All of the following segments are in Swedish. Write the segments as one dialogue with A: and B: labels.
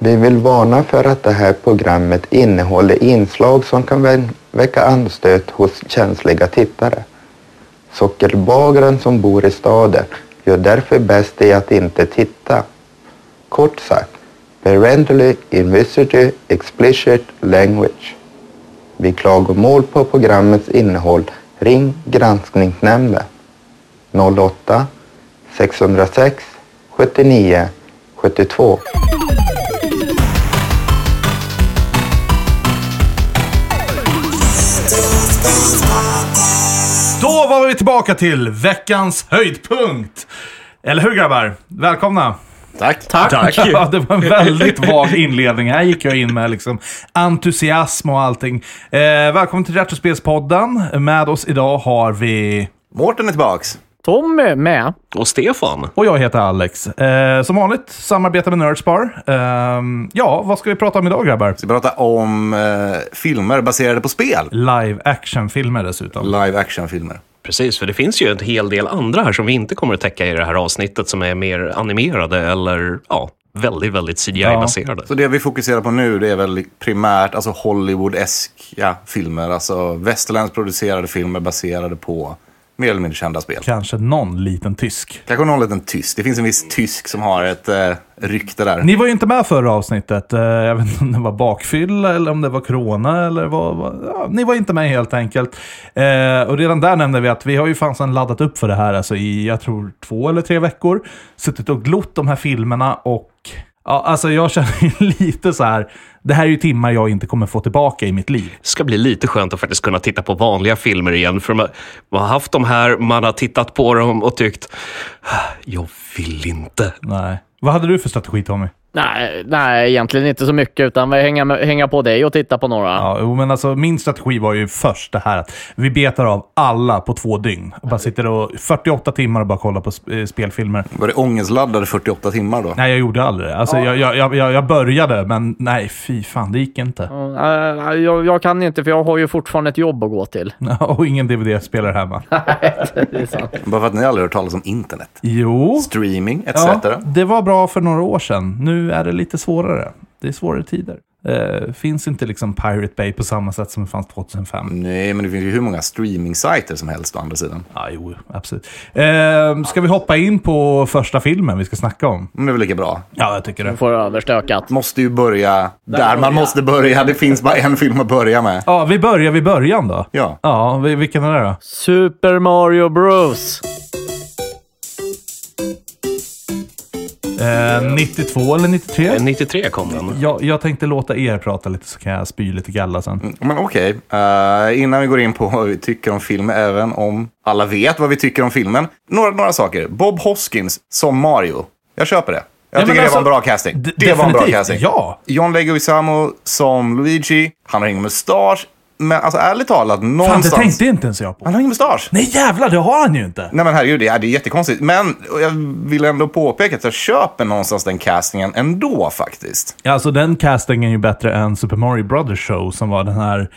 A: Vi vill varna för att det här programmet innehåller inslag som kan vä- väcka anstöt hos känsliga tittare. Sockerbagaren som bor i staden gör därför bäst i att inte titta. Kort sagt, Parentally Invisity Explicit Language. Vid klagomål på programmets innehåll ring Granskningsnämnden 08 606 79 72.
B: Då var vi tillbaka till veckans höjdpunkt. Eller hur grabbar? Välkomna.
C: Tack.
D: Tack.
B: Ja, det var en väldigt vag inledning. Här gick jag in med liksom entusiasm och allting. Eh, välkommen till Retrospelspodden. Med oss idag har vi...
C: Mårten är tillbaks.
D: Tommy eh, med.
E: Och Stefan.
B: Och jag heter Alex. Eh, som vanligt samarbetar med Nerdspar. Eh, ja, vad ska vi prata om idag grabbar?
C: Vi pratar om eh, filmer baserade på spel.
B: Live action-filmer dessutom.
C: Live action-filmer.
E: Precis, för det finns ju en hel del andra här som vi inte kommer att täcka i det här avsnittet som är mer animerade eller ja, väldigt, väldigt CGI-baserade.
C: Så det vi fokuserar på nu det är väl primärt alltså Hollywood-eska filmer. Alltså västerländskt producerade filmer baserade på mer eller mindre kända spel.
B: Kanske någon liten tysk.
C: Kanske någon liten tysk. Det finns en viss tysk som har ett eh, rykte där.
B: Ni var ju inte med förra avsnittet. Eh, Jag vet inte om det var bakfylla eller om det var corona. Eller vad, vad. Ja, ni var inte med helt enkelt. Eh, och redan där nämnde vi att vi har ju fansen laddat upp för det här alltså, i, jag tror, två eller tre veckor. Suttit och glott de här filmerna och ja, alltså, jag känner ju lite så här. Det här är ju timmar jag inte kommer få tillbaka i mitt liv.
E: Det ska bli lite skönt att faktiskt kunna titta på vanliga filmer igen. För man man har haft de här, man har tittat på dem och tyckt, "Ah, jag vill inte.
B: Nej. Vad hade du för strategi Tommy?
D: Nej, nej, egentligen inte så mycket, utan vi hänga, med- hänga på dig och titta på några.
B: Ja, jo, men alltså, min strategi var ju först det här att vi betar av alla på två dygn. Och bara sitter och 48 timmar och bara kollar på sp- eh, spelfilmer.
C: Var det ångestladdade 48 timmar då?
B: Nej, jag gjorde aldrig det. Alltså, jag, jag, jag- jag, jag började, men nej, fy fan, det gick inte.
D: Eh, jag, jag kan inte, för jag har ju fortfarande ett jobb att gå till.
B: Och ingen DVD-spelare hemma.
D: Det är sant.
C: Bara för att ni aldrig hört talas om internet.
B: Jo,
C: Streaming etc.
B: ja, det var bra för några år sedan. Nu är det lite svårare. Det är svårare tider. Eh, finns inte liksom Pirate Bay på samma sätt som det fanns 2005?
C: Nej, men det finns ju hur många streaming-sajter som helst å andra sidan.
B: Ja, jo, absolut. Eh, ska vi hoppa in på första filmen vi ska snacka om?
C: Men det är väl lika bra.
B: Ja, jag tycker det.
D: Får överstökat.
C: Måste ju börja där, man måste börja. Det finns bara en film att börja med.
B: Ja, vi börjar vid början då.
C: Ja.
B: Ja, vi- vilken är det då?
D: Super Mario Bros.
B: Eh, 92 eller 93?
E: Eh, 93 kom den.
B: Jag, jag tänkte låta er prata lite så kan jag spy lite galla sen.
C: Men okej, Eh, innan vi går in på vad vi tycker om filmen, även om alla vet vad vi tycker om filmen. Några, några saker. Bob Hoskins som Mario. Jag köper det. Jag
B: Ja, men
C: tycker
B: alltså,
C: det var en bra casting.
B: d-
C: det var en bra
B: definitivt,
C: casting.
B: ja.
C: John Leguizamo som Luigi. Han har ingen mustasch. Men alltså ärligt talat,
B: Fan, det
C: någonstans...
B: tänkte inte ens jag på.
C: Han har ingen mustasch.
B: Nej jävlar, det har han ju inte!
C: Nej men herregud, det är, det är jättekonstigt. Men jag vill ändå påpeka att jag köper någonstans den castingen ändå faktiskt.
B: Ja, Alltså den castingen är ju bättre än Super Mario Brothers show som var den här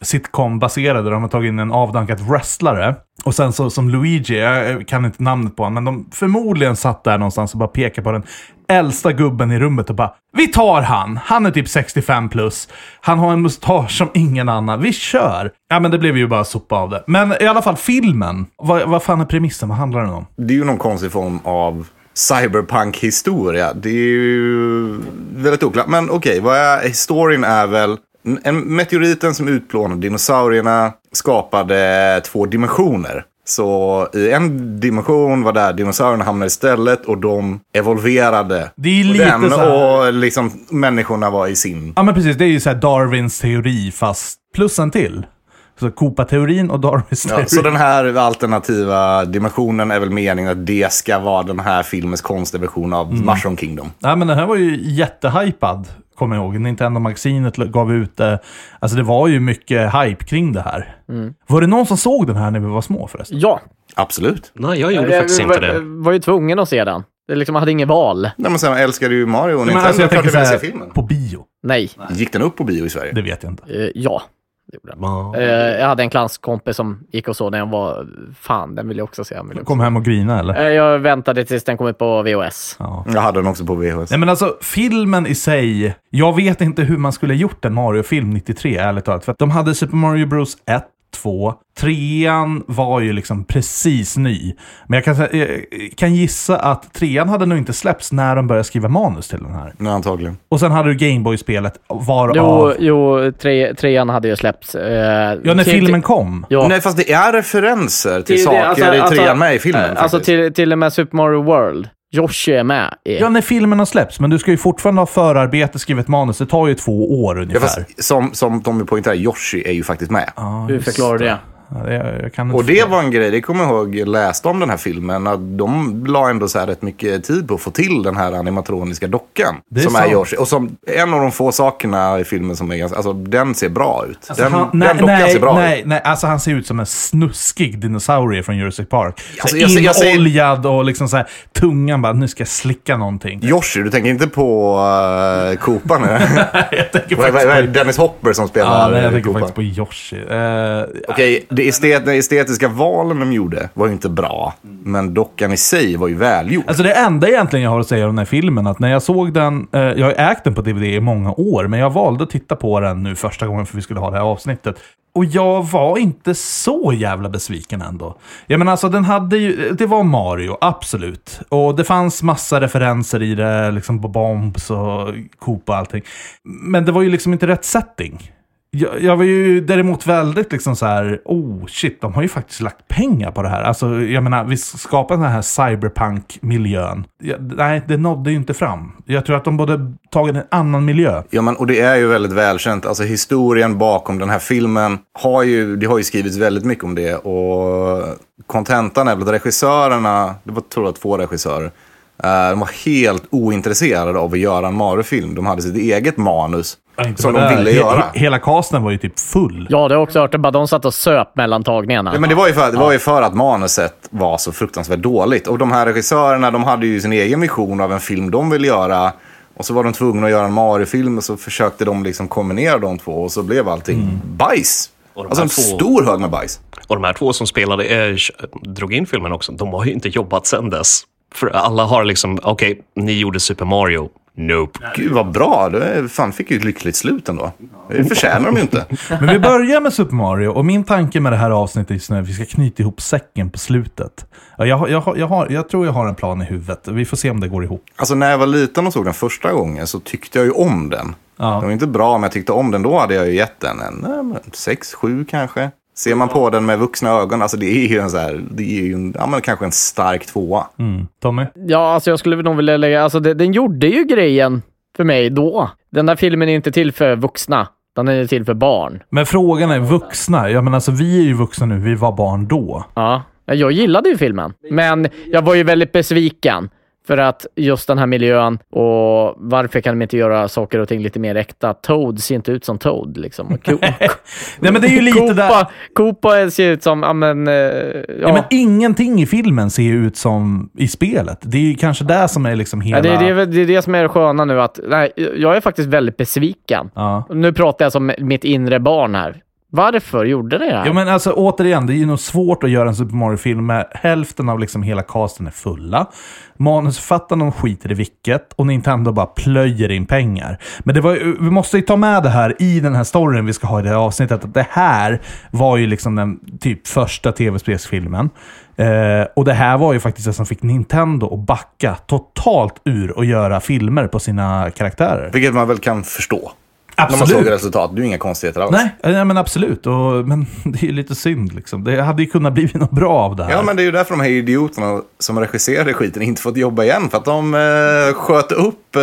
B: sitcom-baserade. där De har tagit in en avdankad wrestlare. Och sen så som Luigi, jag eh, kan inte namnet på honom, men de förmodligen satt där någonstans och bara pekade på den äldsta gubben i rummet och bara Vi tar han! Han är typ 65 plus. Han har en mustasch som ingen annan. Vi kör! Ja, men det blev ju bara sopa av det. Men i alla fall filmen. Vad, vad fan är premissen? Vad handlar den om?
C: Det är ju någon konstig form av cyberpunk-historia. Det är ju väldigt oklart. Men okej, vad är, historien är väl en meteoriten som utplånade dinosaurierna skapade två dimensioner. Så i en dimension var där dinosaurierna hamnade istället och de evolverade.
B: Det är lite
C: den
B: så här-
C: och liksom människorna var i sin.
B: Ja, men precis. Det är ju så här Darwins teori, fast plus en till. Så Kopa-teorin och Darwins teori.
C: Ja, så den här alternativa dimensionen är väl meningen att det ska vara den här filmens konstiga version av
B: Mm.
C: Mushroom Kingdom.
B: Nej, men den här var ju jättehypad, kommer jag ihåg. Nintendo-magasinet gav ut det. Alltså, det var ju mycket hype kring det här.
C: Mm.
B: Var det någon som såg den här när vi var små förresten?
D: Ja,
C: Absolut.
E: Nej, jag gjorde faktiskt
D: jag var,
E: inte det.
D: var ju tvungen att se den. Det liksom, jag hade inget val.
C: Nej, men sen älskar du ju Mario
B: Men
C: och Nintendo.
B: alltså, jag
C: Klart
B: tänker
C: du
B: så
C: vill se
B: här,
C: filmen.
B: på bio.
D: Nej.
C: Gick den upp på bio i Sverige?
B: Det vet jag inte.
D: Eh, ja. det gjorde jag.
E: Ja.
D: Eh, jag hade en klanskompis som gick och så när jag var... Fan, den vill jag också se. Den vill jag, också.
B: Kom hem och grina eller?
D: Eh, jag väntade tills den kom ut på VHS.
B: Ja.
C: Jag hade den också på VHS.
B: Nej men alltså filmen i sig. Jag vet inte hur man skulle gjort en Mario-film 93 ärligt talat. För att de hade Super Mario Bros 1, 2, 3 var ju liksom precis ny. Men jag kan, sä- eh, kan gissa att 3 hade nog inte släppts när de började skriva manus till den här.
C: Nej, antagligen.
B: Och sen hade du Gameboy-spelet
D: Jo,
B: varav...
D: jo tre, trean hade ju släppts. eh,
B: Ja, när
D: till-
B: filmen kom.
D: Ja.
C: Nej, fast det är referenser till
D: Till det-
C: saker
D: alltså-
C: i trean
D: alltså-
C: med i filmen.
D: Eh, Alltså
C: faktiskt.
D: till, till och med Super Mario World. Yoshi är med. i-
B: Ja, när filmen har släppts. Men du ska ju fortfarande ha förarbete, skrivet manus. Det tar ju två år ungefär.
C: Ja, fast som, som Tommy poängterar, Yoshi är ju faktiskt med.
B: Ja,
D: Hur
B: just
D: förklarar du det?
B: Ja, det- jag, jag kan inte
C: Och det
B: förklara.
C: var en grej, det kommer jag ihåg, jag läste om den här filmen. Att de la ändå så här rätt mycket tid på att få till den här animatroniska dockan.
B: Det är
C: som
B: sant.
C: är Yoshi. Och som en av de få sakerna i filmen som är ganska... Alltså den ser bra ut.
B: Alltså,
C: den,
B: han,
C: Mm. den
B: nej,
C: dockan
B: nej,
C: ser bra ut.
B: nej, nej, alltså han ser ut som en snuskig dinosaurie från Jurassic Park.
C: Alltså,
B: Alltså,
C: jag ser- jag ser-
B: Inoljad och liksom så här, tungan bara, nu ska jag slicka någonting.
C: Yoshi, du tänker inte på uh, Koopa nu?
B: jag tänker
C: vad, vad,
B: faktiskt
C: vad är det?
B: på...
C: Dennis Hopper som
B: Ja,
C: spelar
B: nej, jag
C: eh,
B: tänker
C: Koopa?
B: faktiskt på Yoshi. Eh,
C: Okej, det estet, de estetiska valen de gjorde var ju inte bra. Men dockan i sig var ju välgjord.
B: Alltså det enda egentligen jag har att säga om den här filmen, att när jag såg den, eh, jag har ägt den på DVD i många år, men jag valde att titta på den nu första gången för vi skulle ha det här avsnittet. Och jag var inte så jävla besviken ändå. Jag menar alltså den hade ju, det var Mario, absolut. Och det fanns massa referenser i det, liksom på Bombs och Koopa och allting. Men det var ju liksom inte rätt setting. Jag, jag var ju däremot väldigt liksom så här, oh shit, de har ju faktiskt lagt pengar på det här. Alltså, jag menar, vi skapar den här cyberpunk-miljön. Ja, nej, det nådde ju inte fram. Jag tror att de borde tagit en annan miljö.
C: Ja, men, och det är ju väldigt välkänt. Alltså historien bakom den här filmen har ju, det har ju skrivits väldigt mycket om det. Och kontentan är väl att regissörerna, det var tror jag två regissörer, eh, de var helt ointresserade av att göra en Mario-film. De hade sitt eget manus som de ville
B: He-
C: göra.
B: he- Hela casten var ju typ full.
D: Ja, det har jag också hört. Bara de satt och söp mellan tagningarna.
C: Ja, men det var, ju för, det var ju för att manuset var så fruktansvärt dåligt. Och de här regissörerna de hade ju sin egen vision av en film de ville göra. Och så var de tvungna att göra en Mario-film och så försökte de liksom kombinera de två och så blev allting bajs.
E: Mm. Och de
C: Alltså en
E: här två-
C: stor hög med bajs.
E: Och de här två som spelade, eh, drog in filmen också, de har ju inte jobbat sedan dess. För alla har liksom, okej, ni gjorde Super Mario. Nope.
C: Gud vad bra, det fan fick ju ett lyckligt slut ändå. Det förtjänar de ju inte.
B: Men vi börjar med Super Mario och min tanke med det här avsnittet just nu är att vi ska knyta ihop säcken på slutet. Ja, Jag, har- jag, har- jag, har, jag tror jag har en plan i huvudet. Vi får se om det går ihop.
C: Alltså när jag var liten och såg den första gången så tyckte jag ju om den.
B: Ja.
C: Den var inte bra, men jag tyckte om den. Då hade jag ju gett den en eh, men sex, sju kanske. Ser man på den med vuxna ögon, alltså det är ju en så här, det är ju en, ja, men kanske en stark tvåa.
B: Mm. Tommy?
D: Ja, alltså jag skulle nog vilja lägga... Alltså det, den gjorde ju grejen för mig då. Den där filmen är inte till för vuxna. Den är till för barn.
B: Men frågan är vuxna. Jag menar, alltså, vi är ju vuxna nu, vi var barn då.
D: Ja. Jag gillade ju filmen, men jag var ju väldigt besviken. För att just den här miljön och varför kan de inte göra saker och ting lite mer äkta? Toad ser inte ut som Toad liksom. Och Ko-
B: Nej, men det är ju lite
D: Koopa,
B: där...
D: Koopa ser ut som, ja men... eh, Ja,
B: Ja, men ingenting i filmen ser ju ut som i spelet. Det är ju kanske det som är liksom hela...
D: Ja, det, det, är väl- det är det som är det sköna nu. Att, nej, jag är faktiskt väldigt besviken.
B: Ja.
D: Nu pratar jag som mitt inre barn här. Varför gjorde ni det här?
B: Ja, men alltså återigen, det är ju nog svårt att göra en Super Mario-film med hälften av liksom hela casten är fulla. Manusförfattarna de skiter i vilket och Nintendo bara plöjer in pengar. Men det var, ju- vi måste ju ta med det här i den här storyn vi ska ha i det här avsnittet. Att det här var ju liksom den typ första tv-spelsfilmen. Eh, och det här var ju faktiskt det som fick Nintendo att backa totalt ur och göra filmer på sina karaktärer.
C: Vilket man väl kan förstå. När man
B: Absolut!
C: såg resultat, det är ju inga konstigheter alls.
B: Nej, ja, men absolut. Och, men det är ju lite synd liksom. Det hade ju kunnat bli något bra av det här.
C: Ja, men det är ju därför de här idioterna som regisserade skiten inte fått jobba igen. För att de eh, sköt upp eh,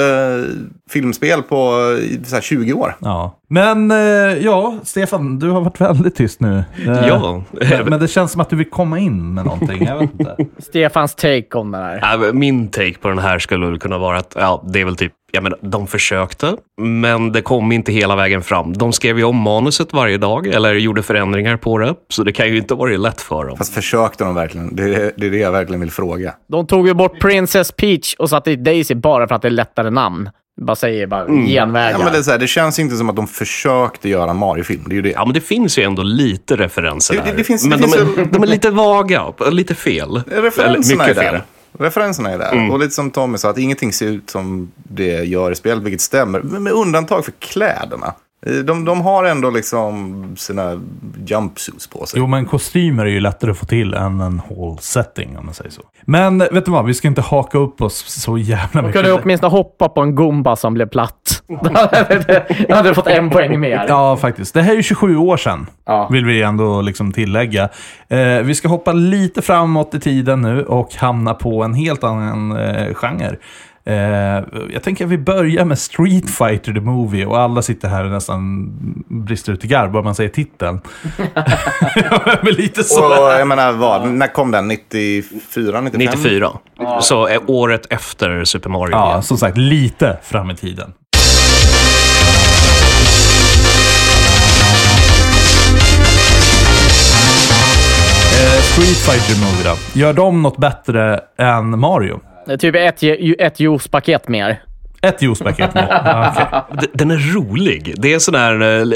C: filmspel på eh, i så här 20 år.
B: Ja. Men eh, ja, Stefan, du har varit väldigt tyst nu. Eh,
E: Ja.
B: Men, men det känns som att du vill komma in med någonting. Jag vet inte.
D: Stefans take om det här.
E: Ja, men Äh, Min take på den här skulle väl kunna vara att ja, det är väl typ, jag menar, de försökte, men det kom inte hela vägen fram. De skrev ju om manuset varje dag eller gjorde förändringar på det, så det kan ju inte ha varit lätt för dem.
C: Fast Alltså, försökte de verkligen? Det är, det är det jag verkligen vill fråga.
D: De tog ju bort Princess Peach och satte i Daisy bara för att det är lättare namn. Bara säger bara genvägar.
C: Mm. Ja, men det, är så här, det känns inte som att de försökte göra en Mario-film. Det är ju det.
E: Ja, men det finns ju ändå lite referenser
C: Det-
E: där.
C: det- det finns-
E: men
C: det
E: de,
C: finns
E: är, de är lite vaga, och lite fel.
C: Referenserna är
E: mycket
C: där. Mm.
E: fel.
C: Referenserna är där. Och lite som Tommy sa, att ingenting ser ut som det gör i spelet, vilket stämmer. Men med undantag för kläderna. Eh, De, de har ändå liksom sina jumpsuits på sig.
B: Jo, men kostymer är ju lättare att få till än en whole setting om man säger så. Men vet du vad, vi ska inte haka upp oss så jävla
D: De
B: mycket.
D: kunde åtminstone hoppa på en gumba som blev platt. Då hade jag hade fått en poäng mer.
B: Ja, faktiskt. Det här är ju 27 år sedan,
D: Ja.
B: vill vi ändå liksom tillägga. Eh, vi ska hoppa lite framåt i tiden nu och hamna på en helt annan eh, genre. Eh, jag tänker att vi börjar med Street Fighter the Movie och alla sitter här och nästan brister ut i garb om man säger titeln. Men lite så.
C: Och eh, jag menar, vad? När kom den? 94, 95?
E: 94. Så är året efter Super Mario.
B: Ja, som sagt, lite fram i tiden. Eh, Street Fighter Movie då. Gör de något bättre än Mario?
D: Det är typ ett, ju- ett juicepaket mer.
B: Ett juicepaket nu. Ja, okej.
E: D- Den är rolig. Det är en sån där eh, l-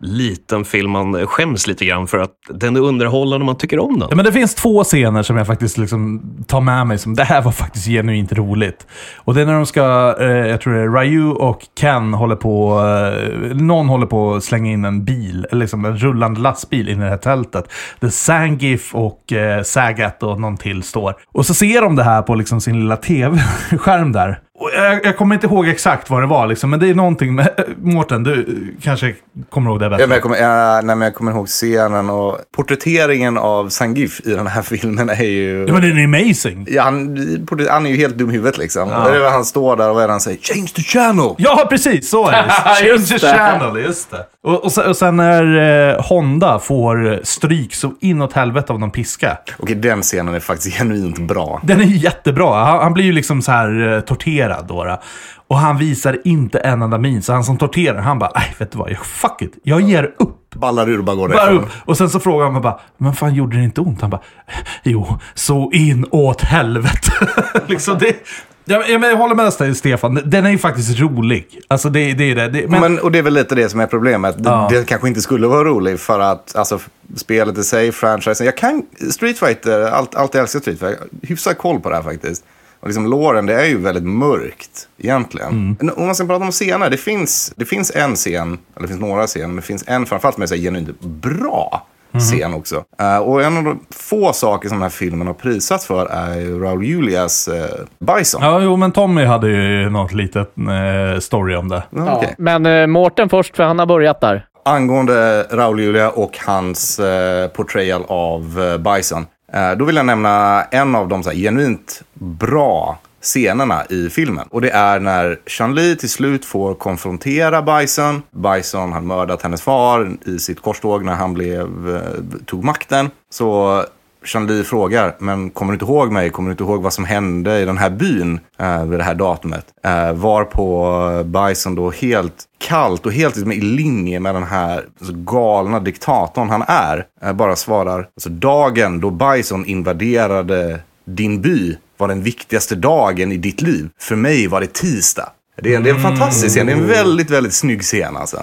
E: liten film man skäms lite grann för att den är underhållande och man tycker om den.
B: Ja, Men det finns två scener som jag faktiskt liksom tar med mig som det här var faktiskt genuint roligt. Och det är när de ska, eh, jag tror det är Ryu och Ken håller på, eh, någon håller på att slänga in en bil, eller liksom en rullande lastbil in i det här tältet. Där Sangif och eh, Sagat och någon till står. Och så ser de det här på liksom sin lilla tv-skärm där. Och jag, jag kommer inte ihåg exakt vad det var, liksom, men det är någonting med... Mårten, du eh, kanske kommer ihåg det bättre?
C: Ja, men jag, kommer, ja, nej, men jag kommer ihåg scenen och porträtteringen av Sangif i den här filmen är ju...
B: Ja, men den är amazing!
C: Ja, han, porträ- han är ju helt dum i huvudet liksom. Det är väl han står där och vad är det han säger? Change the channel!
B: Ja, precis! Så är det. Change the channel, just det. Och, och, sen, och sen när eh, Honda får stryk så inåt helvete av någon piska.
C: Okej, den scenen är faktiskt genuint bra.
B: Den är ju jättebra. Han, han blir ju liksom så här eh, torterad då. då. Och han visar inte en enda min. Så han som torterar, han bara, nej vet du vad, jag, fuck it. Jag ger upp.
C: Ballar ur bara går
B: Bara upp.
C: därifrån.
B: Och sen så frågar han mig bara, men fan gjorde det inte ont? Han bara, jo, så in åt helvete. liksom det, ja, men- ja, men jag håller med dig Stefan, den är ju faktiskt rolig. Alltså det, det är det. det men,
C: Men, och det är väl lite det som är problemet. Det, det kanske inte skulle vara roligt för att alltså, spelet i sig, franchisen. Jag kan Street Fighter, allt, allt jag älskar Street Fighter, hyfsat koll på det här faktiskt. Och liksom låren, det är ju väldigt mörkt egentligen. Men Om man ska prata om scener, det finns, det finns en scen, eller det finns några scener, men det finns en framförallt som är så här genuint bra scen också. Eh, och en av de få saker som den här filmen har prisats för är ju Raul Julias eh, Bison.
B: ja, jo, men Tommy hade ju något litet eh, story om det.
C: Ja, okej.
D: Men eh, Mårten först, för han har börjat där.
C: Angående Raul Julia och hans eh, portrayal av eh, Bison. Eh, då vill jag nämna en av de så här, genuint bra scenerna i filmen. Och det är när Chun-Li till slut får konfrontera Bison. Bison har mördat hennes far i sitt korståg när han blev, eh, tog makten. Så Chun-Li frågar, men kommer du inte ihåg mig? Kommer du inte ihåg vad som hände i den här byn eh, vid det här datumet? Eh, varpå Bison då helt kallt och helt liksom i linje med den här alltså, galna diktatorn han är, eh, bara svarar, alltså dagen då Bison invaderade din by var den viktigaste dagen i ditt liv. För mig var det tisdag. Det är, en- det är en fantastisk scen. Det är en väldigt, väldigt snygg scen alltså.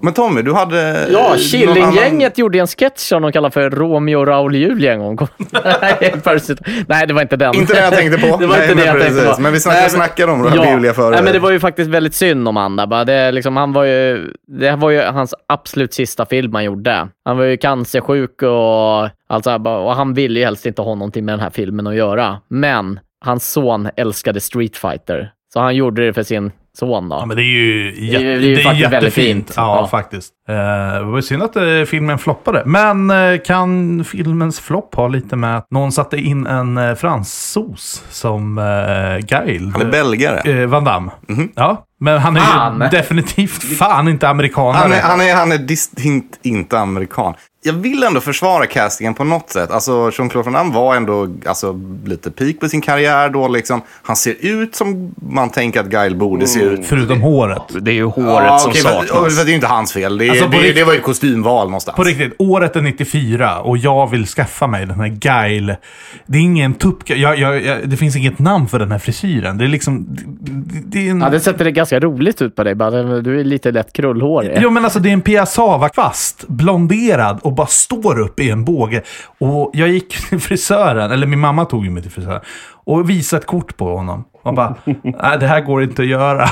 C: Men Tommy, du hade... eh,
D: Ja,
C: någon
D: Killinggänget
C: annan-
D: gjorde en sketch som de kallar för Romeo och Raul Julia en gång. Nej, först- Nej, det var inte den.
C: Inte det jag tänkte på.
D: Det var
C: Nej,
D: inte det
C: men
D: jag tänkte
C: precis.
D: på.
C: Men vi snackade- snackade om Raul Julia förut.
D: Nej, men det var ju faktiskt väldigt synd om han där. bara. Det, är liksom, han var ju, det här var ju hans absolut sista film han gjorde. Han var ju cancersjuk och, allt så här, bara- och han ville ju helst inte ha någonting med den här filmen att göra. Men hans son älskade Street Fighter. Så han gjorde det för sin son då.
B: Ja, men det är ju, jä-
D: Det är ju- det är ju faktiskt väldigt fint.
B: Ja,
D: Ja.
B: faktiskt. Eh, det var ju synd att eh, filmen floppade. Men eh, kan filmens flopp ha lite med att någon satte in en eh, fransos som eh, guide?
C: Han är Mhm. belgare.
B: eh, Van Damme. Ja, men han är
D: Fan.
B: ju definitivt fan inte amerikanare.
C: Han är, han är, han är distinkt inte amerikan. Jag vill ändå försvara castingen på något sätt. Alltså, Jean-Claude Van Damme var ändå alltså, lite peak på sin karriär då. Liksom. Han ser ut som man tänker att Guile borde se ut.
B: Förutom håret.
E: Det är ju håret
C: Mm. Ja,
E: som
C: okej, men- och
E: saknas.
C: det är ju inte hans fel. Det, är-
B: Alltså, på
C: det, är-
B: rikt-
C: det var ju ett kostymval någonstans.
B: På riktigt, året är 94 och jag vill skaffa mig den här guile. Det är ingen tupp... Jag, jag, jag, det finns inget namn för den här frisyren. Det är liksom... Det, det, det är en...
D: Ja, det sätter det ganska roligt ut på dig. Bara, du är lite lätt krullhårig.
B: Jo, men alltså det är en piassava-kvast, blonderad och bara står upp i en båge. Och jag gick till frisören, eller min mamma tog ju mig till frisören, och visade ett kort på honom. Och bara, nej det här går inte att göra.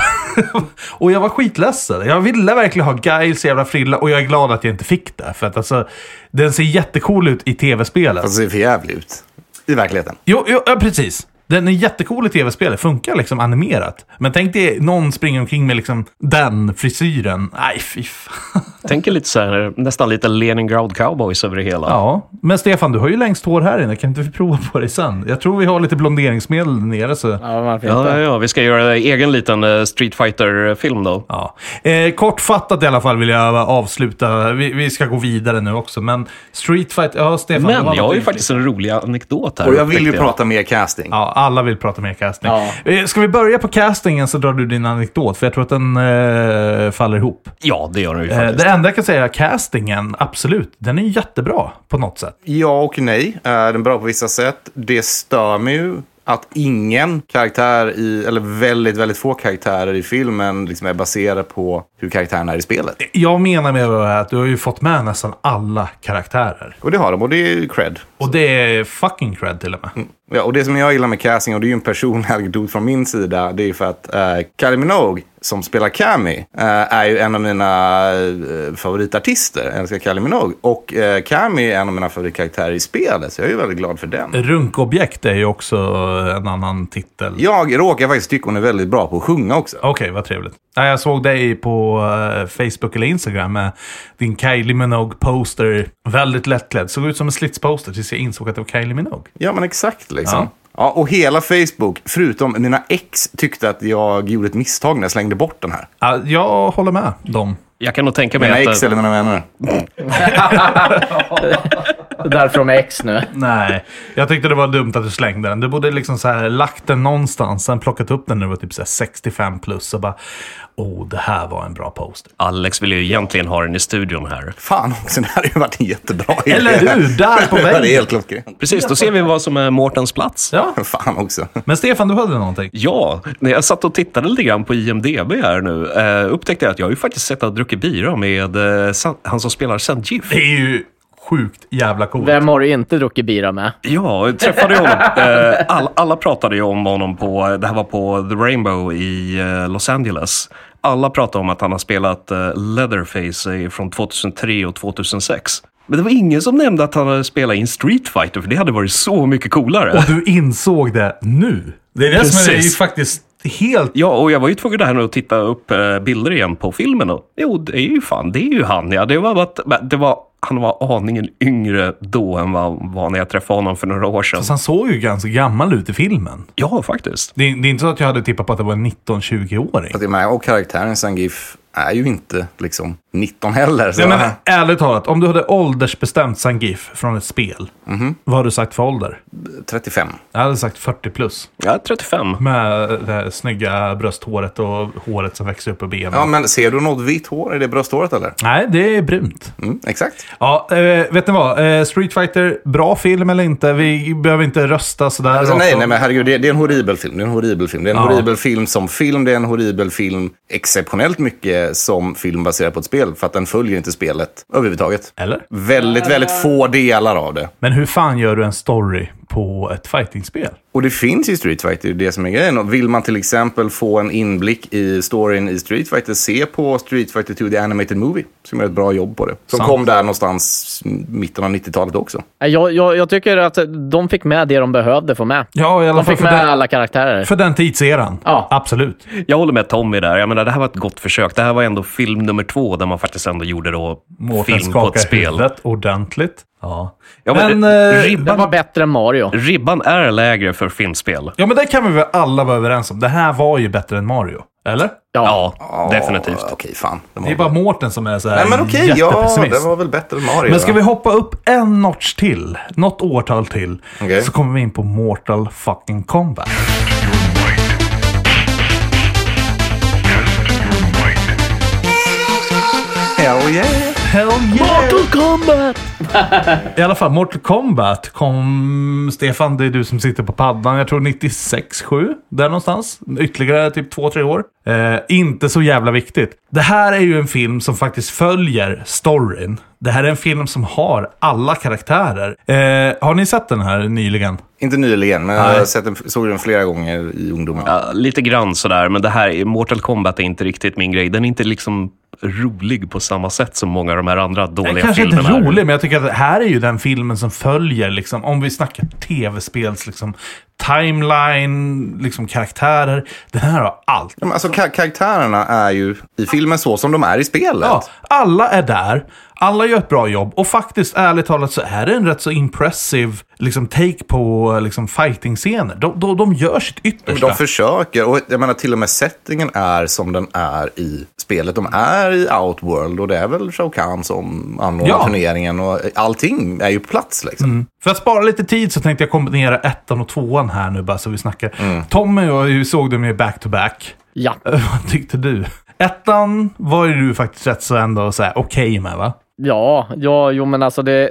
B: och jag var skitledsen. Jag ville verkligen ha Giles jävla frilla och jag är glad att jag inte fick det. För att alltså, den ser jättecool ut i tv-spelet.
C: Fast Alltså, det ser för jävligt ut. I verkligheten.
B: Jo, jo ja, precis. Den är jättecool i tv-spelet, funkar liksom animerat. Men tänk dig någon springer omkring med liksom den frisyren. Nej, fy fan.
E: Tänker lite så här, nästan lite Leningrad Cowboys över det hela.
B: Ja, men Stefan, du har ju längst hår här inne. Kan inte vi prova på det sen? Jag tror vi har lite blonderingsmedel där nere. Så...
D: Ja, varför
E: Ja,
D: inte?
E: ja, ja, vi ska göra egen liten eh, Street Fighter-film då.
B: Ja. Eh, kortfattat i alla fall vill jag avsluta. Vi, vi ska gå vidare nu också. Men Street Fight... Ja, Stefan. du
E: Men
B: något
E: jag har ju
B: inflytande.
E: faktiskt en rolig anekdot här.
C: Och jag vill ju
E: upptäckte
C: prata mer casting.
B: Ja, alla vill prata mer casting.
D: Ja.
B: Eh, Ska vi börja på castingen så drar du din anekdot, för jag tror att den eh, faller ihop.
E: Ja, det gör jag ju
B: Eh,
E: faktiskt.
B: Det enda jag kan säga är castingen, absolut. Den är jättebra på något sätt.
C: Ja och nej. Eh, Den är bra på vissa sätt. Det stör mig ju att ingen karaktär i, eller väldigt, väldigt få karaktärer i filmen liksom är baserade på hur karaktärerna är i spelet.
B: Jag menar med det här att du har ju fått med nästan alla karaktärer.
C: Och det har de och det är ju cred.
B: Och det är fucking cred till och med.
C: Ja, och det som jag gillar med casting, och det är ju en personlig anekdot från min sida, det är ju för att eh, Kylie Minogue, som spelar Cammy, eh, är ju en av mina eh, favoritartister. Jag älskar Kylie Minogue. Och eh, Cammy är en av mina favoritkaraktärer i spelet, så jag är ju väldigt glad för den.
B: Runkobjekt är ju också en annan titel.
C: Jag råkar faktiskt tycka hon är väldigt bra på att sjunga också.
B: Okej, vad trevligt. Nej, Jag såg dig på eh, Facebook eller Instagram med din Kylie Minogue-poster. Väldigt lättklädd. Såg ut som en slitsposter tills jag insåg att det var Kylie Minogue.
C: Ja, men exakt liksom.
B: Ja.
C: Ja. och hela Facebook, förutom mina ex, tyckte att jag gjorde ett misstag när jag slängde bort den här.
B: Ja, jag håller med dem.
E: Jag kan nog tänka mig
C: Mina ex
E: att... eh,
C: eller mina vänner.
D: Därför de är ex nu.
B: Nej, jag tyckte det var dumt att du slängde den. Du borde liksom så här lagt den någonstans, sen plockat upp den när du var typ så här 65 plus och bara oh, det här var en bra poster.
E: Alex vill ju egentligen ha den i studion här.
C: Fan också, det här hade ju varit en jättebra idé.
B: Eller hur? Där på
C: Det här är
B: väggen.
C: helt klockrent.
E: Precis, då ser vi vad som är Mårtens plats.
B: Ja,
C: Fan också.
B: men Stefan, du hade någonting.
E: Ja, när jag satt och tittade lite grann på IMDB här nu eh, upptäckte jag att jag har ju faktiskt sett att han druckit bira med eh, San, han som spelar Sanjif.
B: Det är ju sjukt jävla coolt.
D: Vem har du inte druckit bira med?
E: Ja, jag träffade honom. Eh, all, alla pratade ju om honom på, det här var på The Rainbow i eh, Los Angeles. Alla pratade om att han har spelat eh, Leatherface eh, från 2003 och 2006. Men det var ingen som nämnde att han hade spelat in Street Fighter, för det hade varit så mycket coolare.
B: Och du insåg det nu. Det är det som är, det är ju
E: Precis.
B: faktiskt helt...
E: Ja, och jag var ju tvungen där nu att titta upp eh, bilder igen på filmen. Och, jo, det är ju fan, det är ju han. Ja. Det var bara att, men det var, han var aningen yngre då än vad han var när jag träffade honom för några år sedan.
B: Fast han såg ju ganska gammal ut i filmen.
E: Ja, faktiskt.
B: Det är, det är inte så att jag hade tippat på att det var en 19-20-åring.
C: Att det är med. Och karaktären Sangif är ju inte liksom 19 heller. Så.
B: Nej, men ärligt talat, om du hade åldersbestämt Sangif från ett spel, vad hade du sagt för ålder?
C: 35.
B: Jag hade sagt 40 plus.
E: Ja, 35.
B: Med det här snygga brösthåret och håret som växer upp i benen.
C: Ja, men ser du något vitt hår i det brösthåret eller?
B: Nej, det är brunt.
C: Mm, exakt.
B: Ja, eh, vet ni vad? Eh, Street Fighter, bra film eller inte? Vi behöver inte rösta sådär.
C: Alltså,
B: rakt
C: nej,
B: av.
C: nej, men herregud, det, det är en horribel film. Det är en horribel film. Det är en horribel film som film. Det är en horribel film exceptionellt mycket som film baserad på ett spel. För att den följer inte spelet överhuvudtaget.
B: Eller?
C: Väldigt, väldigt få delar av det.
B: Men hur fan gör du en story på ett fightingspel?
C: Och det finns i Street Fighter, det är det som är grejen. Och vill man till exempel få en inblick i storyn i Street Fighter, se på Street Fighter 2 The Animated Movie, som gör ett bra jobb på det. Som
B: Sant.
C: kom där någonstans mitten av 90-talet också.
D: Jag, jag, jag tycker att de fick med det de behövde få med.
B: Ja, i alla
D: De
B: fall för
D: fick med
B: den,
D: alla karaktärer.
B: för den tidseran.
D: Ja.
B: Absolut.
E: Jag håller med Tommy där. Jag menar, det här var ett gott försök. Det här var ändå film nummer två där man faktiskt ändå gjorde då
B: Mårten
E: film på ett
B: skakar
E: spel.
B: huvudet ordentligt. Ja.
E: Ja,
B: men
E: men det-
B: eh,
D: Den var bättre än Mario.
E: Ribban är lägre för filmspel.
B: Ja, men det kan vi väl alla vara överens om. Det här var ju bättre än Mario. Eller?
E: Ja,
C: Ja,
E: definitivt.
C: Okej, fan. Det var...
B: Det är bara Mårten som är så här
C: Nej, men okej. ja,
B: jättepessimist.
C: det var väl bättre än Mario.
B: Men ska
C: va?
B: vi hoppa upp en notch till, något årtal till,
C: Okej.
B: så kommer vi in på Mortal fucking Kombat.
C: Hell yeah.
B: Hell yeah!
D: Mortal Kombat!
B: I alla fall, Mortal Kombat kom... Stefan, det är du som sitter på paddan. Jag tror 96, 7. Där någonstans. Ytterligare typ 2-3 år. Eh, inte så jävla viktigt. Det här är ju en film som faktiskt följer storyn. Det här är en film som har alla karaktärer. Eh, har ni sett den här nyligen?
C: Inte nyligen, men jag har sett den, såg den flera gånger i ungdomen.
E: Ja, lite grann sådär, men det här, Mortal Kombat är inte riktigt min grej. Den är inte liksom rolig på samma sätt som många av de här andra dåliga
B: Den kanske inte
E: filmerna.
B: är rolig, men jag tycker att det här är ju den filmen som följer, liksom, om vi snackar tv-spels liksom, timeline, liksom, karaktärer. Den här har allt.
C: Men Alltså ka- karaktärerna är ju i filmen så som de är i spelet.
B: Ja, alla är där, alla gör ett bra jobb och faktiskt ärligt talat så är det en rätt så impressive liksom, take på liksom, fighting-scener. De, de, de gör sitt
C: Men
B: yttersta.
C: de försöker. Och jag menar till och med settingen är som den är i spelet. De är i Outworld och det är väl Shao Kahn som anordnar
B: Ja. Mm.
C: turneringen. Och allting är ju på plats liksom.
B: För att spara lite tid så tänkte jag kombinera ettan och tvåan här nu bara så vi snackar. Tommy och jag såg dem ju back-to-back.
D: Ja.
B: Vad tyckte du? Ettan var ju du faktiskt rätt så ändå så här okej med va?
D: Ja, ja, jo men alltså det...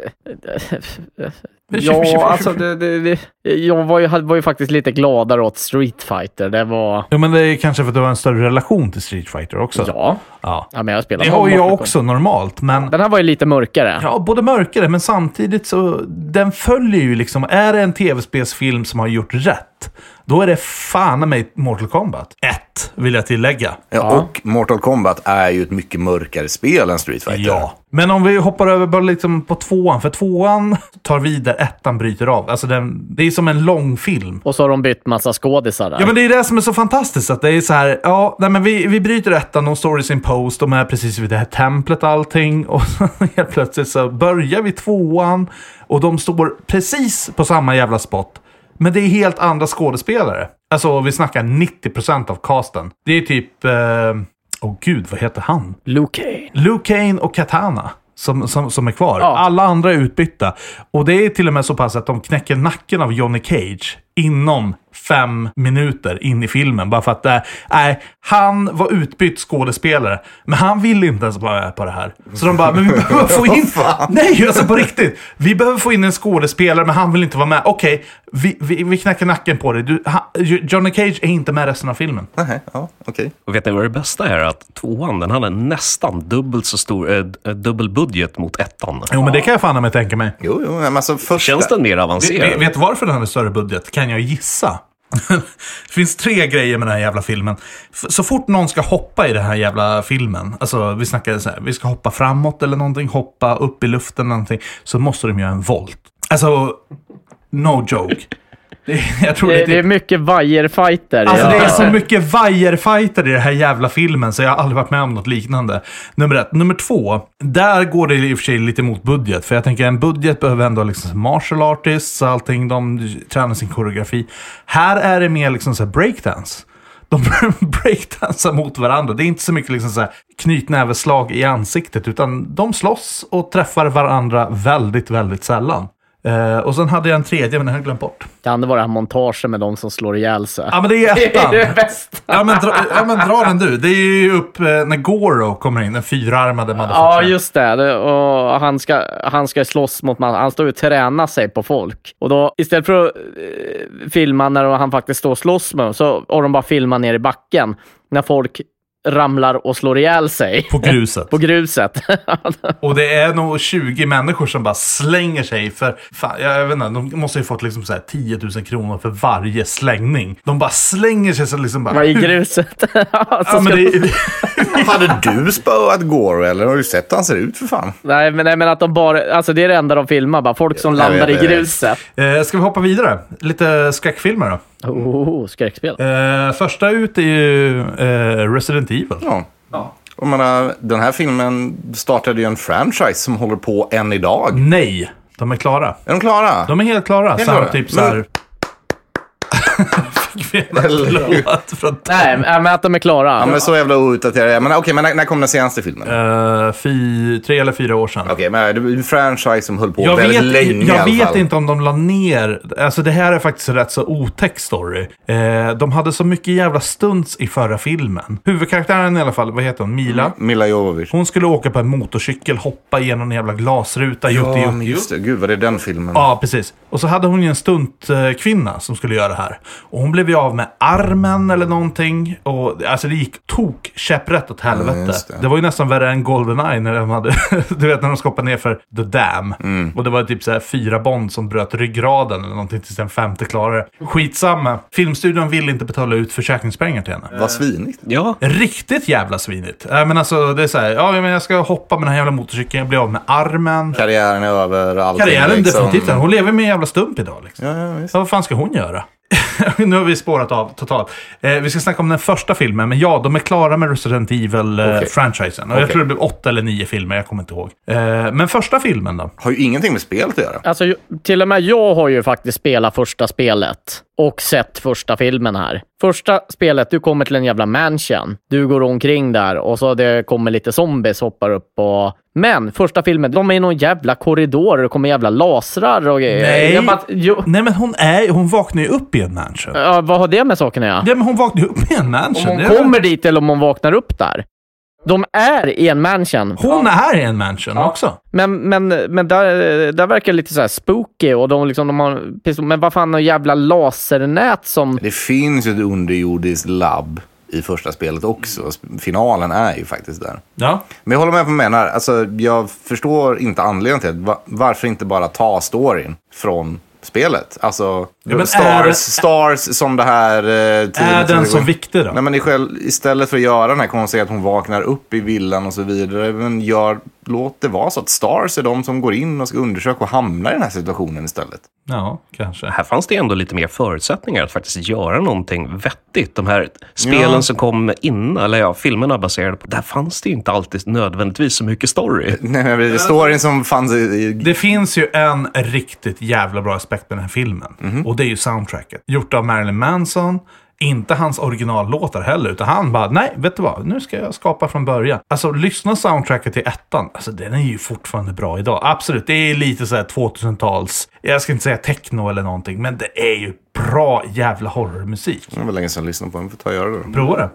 D: Ja, alltså det, det, det... Jag var ju, hade- var ju faktiskt lite gladare åt Street Fighter. Det var...
B: Jo men det är kanske för att du har en större relation till Street Fighter också.
D: Ja,
B: ja.
D: ja men jag spelar
B: Det har ju jag också normalt, men
D: Den här var ju lite mörkare.
B: Ja, både mörkare, men samtidigt så den följer ju liksom. Är det en tv-spelsfilm som har gjort rätt, då är det fan i mig Mortal Kombat. Ett, vill jag tillägga.
C: Ja, och Mortal Kombat är ju ett mycket mörkare spel än Street Fighter.
B: Ja. Men om vi hoppar över bara liksom på tvåan, för tvåan tar vid där ettan bryter av. Alltså den, det är som en lång film.
D: Och så har de bytt massa skådisar där.
B: Ja, men det är det som är så fantastiskt. Att det är så här, ja, nej, men vi, vi bryter ettan, de står i sin post, de är precis vid det här templet och allting. Och så helt plötsligt så börjar vi tvåan och de står precis på samma jävla spot. Men det är helt andra skådespelare. Alltså, vi snackar 90% av casten. Det är typ... eh, Åh gud, vad heter han?
D: Luke Cage.
B: Luke Kane och Katana som, som, som är kvar.
D: Ja.
B: Alla andra är utbytta. Och det är till och med så pass att de knäcker nacken av Johnny Cage inom fem minuter in i filmen. Bara för att, eh, nej, han var utbytt skådespelare, men han vill inte ens vara med på det här. Så de bara, men vi behöver få in... nej, alltså på riktigt! Vi behöver få in en skådespelare, men han vill inte vara med. Okej, vi, vi, vi knäcker nacken på dig. Du, han, Johnny Cage är inte med resten av filmen.
C: Nej, ja, okej.
E: Och vet ni vad det bästa är? Att tvåan, den hade nästan dubbelt så stor, eh, d- eh, dubbel budget mot ettan.
B: Jo, men det kan jag fan med tänka mig.
C: Jo, jo, men alltså första...
E: Känns den mer
B: Vet,
E: avancerad?
B: vet du varför den hade större budget? Kan jag gissa? det finns tre grejer med den här jävla filmen. F- Så fort någon ska hoppa i den här jävla filmen, alltså vi snackar så här, vi ska hoppa framåt eller någonting, hoppa upp i luften eller någonting, så måste de göra en volt. Alltså, no joke. Det, jag tror
D: Det,
B: det,
D: det är mycket vajerfighter.
B: Alltså
D: ja.
B: det är så mycket vajerfighter i den här jävla filmen så jag har aldrig varit med om något liknande. Nummer ett. Nummer två. Där går det i och för sig lite emot budget. För jag tänker en budget behöver ändå liksom martial artists och allting. De tränar sin koreografi. Här är det mer liksom så här breakdance. De breakdansar mot varandra. Det är inte så mycket liksom så här knytnäveslag i ansiktet. Utan de slåss och träffar varandra väldigt, väldigt sällan. Eh, och sen hade jag en tredje, men den har jag glömt bort.
D: Kan det vara det här montagen med de som slår ihjäl sig?
B: Ja, men det är
D: Det är
B: ettan.
D: det bästa.
B: Ja men, dra, ja men dra den du. Det är ju upp eh, när Goro kommer in, den fyrarmade
D: Ja,
B: motherfuckern.
D: just det. det. Och han ska, han ska slåss mot man. Han står ju och tränar sig på folk. Och då istället för att eh, filma när han faktiskt står och slåss med dem, så, och de bara filmar ner i backen, när folk ramlar och slår ihjäl sig
B: På gruset.
D: på gruset.
B: Och det är nog 20 människor som bara slänger sig för, fan, jag, jag vet inte, de måste ju fått liksom så här 10 000 kronor för varje slängning. De bara slänger sig så liksom bara...
D: Vad I gruset. Alltså,
B: Ja, men
D: ska-
B: det,
C: Hade du spöat Gore eller har du sett hur han ser ut för fan?
D: Nej, men, nej, men att de bara... Alltså det är det enda de filmar, bara folk som
C: Jag
D: landar
C: vet,
D: i
C: jag vet.
D: gruset.
B: eh, ska vi hoppa vidare? Lite skräckfilmer då.
D: Oh, skräckspel.
B: Eh, första ut är ju eh, Resident Evil.
C: Ja. Jag menar, den här filmen startade ju en franchise som håller på än idag.
B: Nej, de är klara.
C: Är de klara?
D: Mm.
B: De är helt klara. typ så här,
C: klara.
B: Typ så här...
C: Men-
B: fel låt från
D: Nej, men att de är klara.
C: Ja, men så jävla outdaterad jag. Men okej, men när, när kom den senaste filmen? Okej,
B: Eh, fi, tre eller fyra år sedan.
C: men det är en franchise som höll på
B: Jag
C: väldigt
B: vet,
C: länge i
B: jag
C: alla
B: vet
C: fall.
B: inte om de la ner... Alltså det här är faktiskt en rätt så otäck story. Eh, de hade så mycket jävla stunts i förra filmen. Huvudkaraktären i alla fall, vad heter hon? Mila?
C: Mila Jovovich.
B: Hon skulle åka på en motorcykel, hoppa genom en jävla glasruta. jutti,
C: Ja,
B: jutti,
C: men
B: jutti.
C: just det. Gud, vad det är den filmen?
B: Ja, precis. Och så hade hon ju en stuntkvinna som skulle göra det här. Och hon blev ju av med armen eller någonting. Och, alltså det gick tok käpprätt åt helvete.
C: Mm, just
B: det.
C: det.
B: var ju nästan värre än Goldeneye när de hade... du vet när de skapade ner för The Dam.
C: Mm.
B: Och det var typ så här fyra Bond som bröt ryggraden eller någonting tills den femte klarade det. Skitsamma. Filmstudion ville inte betala ut försäkringspengar till henne.
C: Vad svinigt.
E: Ja,
B: Riktigt jävla svinigt. Äh, men alltså, det är så här, ja, men jag ska hoppa med den här jävla motorcykeln, jag blir av med armen.
C: Karriären är över. Allting,
B: Karriären
C: liksom.
B: definitivt. Hon lever med en jävla stump idag. Liksom.
C: Ja, ja, visst.
B: Ja, vad fan ska hon göra? nu har vi spårat av totalt. Eh, vi ska snacka om den första filmen, men ja, de är klara med Resident
C: Okej.
B: Evil-franchisen. och Jag
C: Okej.
B: tror det blev åtta eller nio filmer, jag kommer inte ihåg. Eh, men första filmen då?
C: Har ju ingenting med spelet att göra.
D: Alltså, ju- till och med jag har ju faktiskt spelat första spelet och sett första filmen här. Första spelet, du kommer till en jävla mansion. Du går omkring där och så det kommer lite zombies hoppar upp och... Men första filmen, de är i någon jävla korridor och det kommer jävla lasrar och grejer.
B: Nej.
D: Jag bara, jo,
B: Nej, men hon, är, hon vaknar ju upp i en mansion.
D: ja, vad har det med saken att göra?
B: Ja, men hon vaknar ju upp i en
D: Om
B: mansion.
D: hon
B: Det är väl-
D: kommer dit eller om hon vaknar upp där. De är i en mansion.
B: hon är i en mansion också.
D: Men, men, men där, där verkar det lite så här spooky och de, liksom, de har pistol. Men vad fan, någon jävla lasernät som...
C: Det finns ju ett underjordiskt labb i första spelet också. Finalen är ju faktiskt där.
B: Ja.
C: Men jag håller med på vad du menar. Alltså, jag förstår inte anledningen till det. Va- varför inte bara ta storyn från spelet? Alltså,
B: Ja, men
C: stars,
B: är-
C: stars som det här... Eh,
B: Är
C: teamet som
B: den
C: det
B: så
C: går-
B: viktig då?
C: Nej, men i själv, istället för att göra den här konstiga att hon vaknar upp i villan och så vidare. Men gör, låt det vara så att stars är de som går in och ska undersöka och hamnar i den här situationen istället.
B: Ja, kanske.
E: här fanns det ändå lite mer förutsättningar att faktiskt göra någonting vettigt. De här spelen
C: Ja.
E: som kom innan, eller ja, filmerna baserade på, där fanns det ju inte alltid nödvändigtvis så mycket story.
C: Nej, men det är
B: alltså-
C: storyn som fanns i... i
B: Det finns ju en riktigt jävla bra aspekt med den här filmen. Och det är ju soundtracket. Gjort av Marilyn Manson. Inte hans originallåtar heller, utan han bara, nej, vet du vad, nu ska jag skapa från början. Alltså, lyssna soundtracket till ettan. Alltså, den är ju fortfarande bra idag. Absolut, det är lite så här 2000-tals, jag ska inte säga techno eller någonting, men det är ju bra jävla horrormusik.
C: det var länge sedan jag lyssnade på den. Vi får ta och göra det då.
B: Prova det.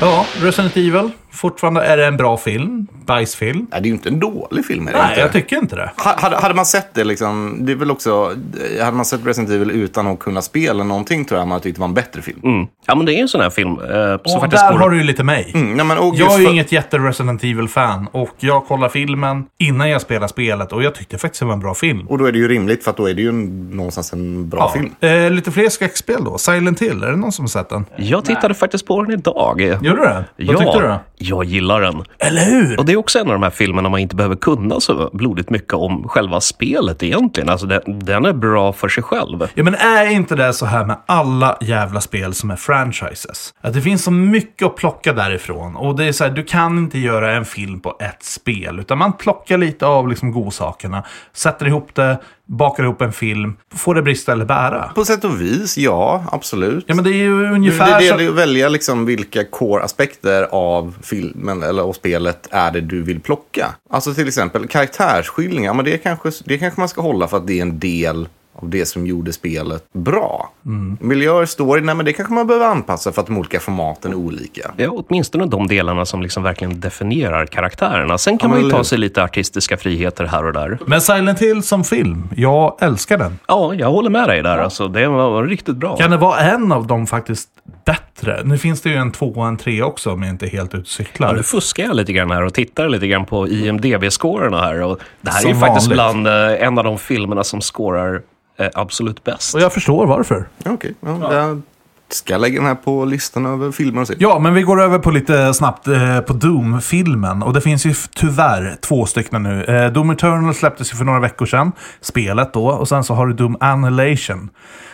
B: Ja, Resident Evil. Fortfarande är det en bra film. Bajsfilm.
C: Nej, det är ju inte en dålig film. Är det
B: Nej,
C: inte?
B: jag tycker inte det.
C: Ha- Hade, hade man sett det liksom, det är väl också, hade man sett Resident Evil utan att kunna spela någonting tror jag man tyckte det var en bättre film.
E: Mm. Ja, men det är ju en sån här film eh, som
B: Och
E: faktiskt
B: där
E: går...
B: har du ju lite mig.
C: Mm, nej, men, och
B: Jag
C: just
B: är ju
C: för-
B: inget jätte-Resident Evil-fan och jag kollar filmen innan jag spelar spelet och jag tyckte faktiskt det var en bra film.
C: Och då är det ju rimligt för att då är det ju en, någonstans en bra film.
B: Eh, lite fler skräckspel då. Silent Hill, är det någon som har sett den?
E: Jag tittade faktiskt på den idag.
B: Gjorde du det? Vad tyckte du då?
E: jag gillar den.
B: Eller hur?
E: Och det är också en av de här filmerna man inte behöver kunna så blodigt mycket om själva spelet egentligen. Alltså den, den är bra för sig själv.
B: Ja, men är inte det så här med alla jävla spel som är franchises? Att det finns så mycket att plocka därifrån. Och det är så här, du kan inte göra en film på ett spel. Utan man plockar lite av liksom godsakerna, sätter ihop det, bakar ihop en film. Får det brista eller bära?
C: På sätt och vis, ja, absolut.
B: Ja, men Mm, det är ju
C: det, det,
B: ungefär
C: det
B: så...
C: gäller ju att välja liksom vilka core-aspekter av filmen eller av spelet är det du vill plocka. Alltså till exempel karaktärsskildringar, men det kanske, det kanske man ska hålla för att det är en del av det som gjorde spelet bra. Miljöer, story, nej men det kanske man behöver anpassa för att de olika formaten är olika.
E: Ja, åtminstone de delarna som liksom verkligen definierar karaktärerna. Sen kan
C: Ja,
E: man
C: men
E: ju ta
C: eller-
E: sig lite artistiska friheter här och där.
B: Men Silent Hill som film, jag älskar den.
E: Ja, jag håller med dig där. Alltså, det var riktigt bra.
B: Kan det vara en av dem faktiskt bättre? Nu finns det ju en två och en tre också om jag inte är helt ute och
E: Ja,
B: cyklar.
E: nu fuskar jag lite grann här och tittar lite grann på IMDB-scorerna här. Och det här
B: Som
E: är ju faktiskt
B: vanligt.
E: bland, eh, en av de filmerna som scorar eh, absolut bäst.
B: Och jag förstår varför.
C: Okej, ja, jag ska lägga den här på listan över filmer och se.
B: Ja, men vi går över på lite snabbt eh, på Doom-filmen. Och det finns ju f- tyvärr två stycken nu. Eh, Doom Eternal släpptes ju för några veckor sedan. Spelet då. Och sen så har du Doom Annihilation.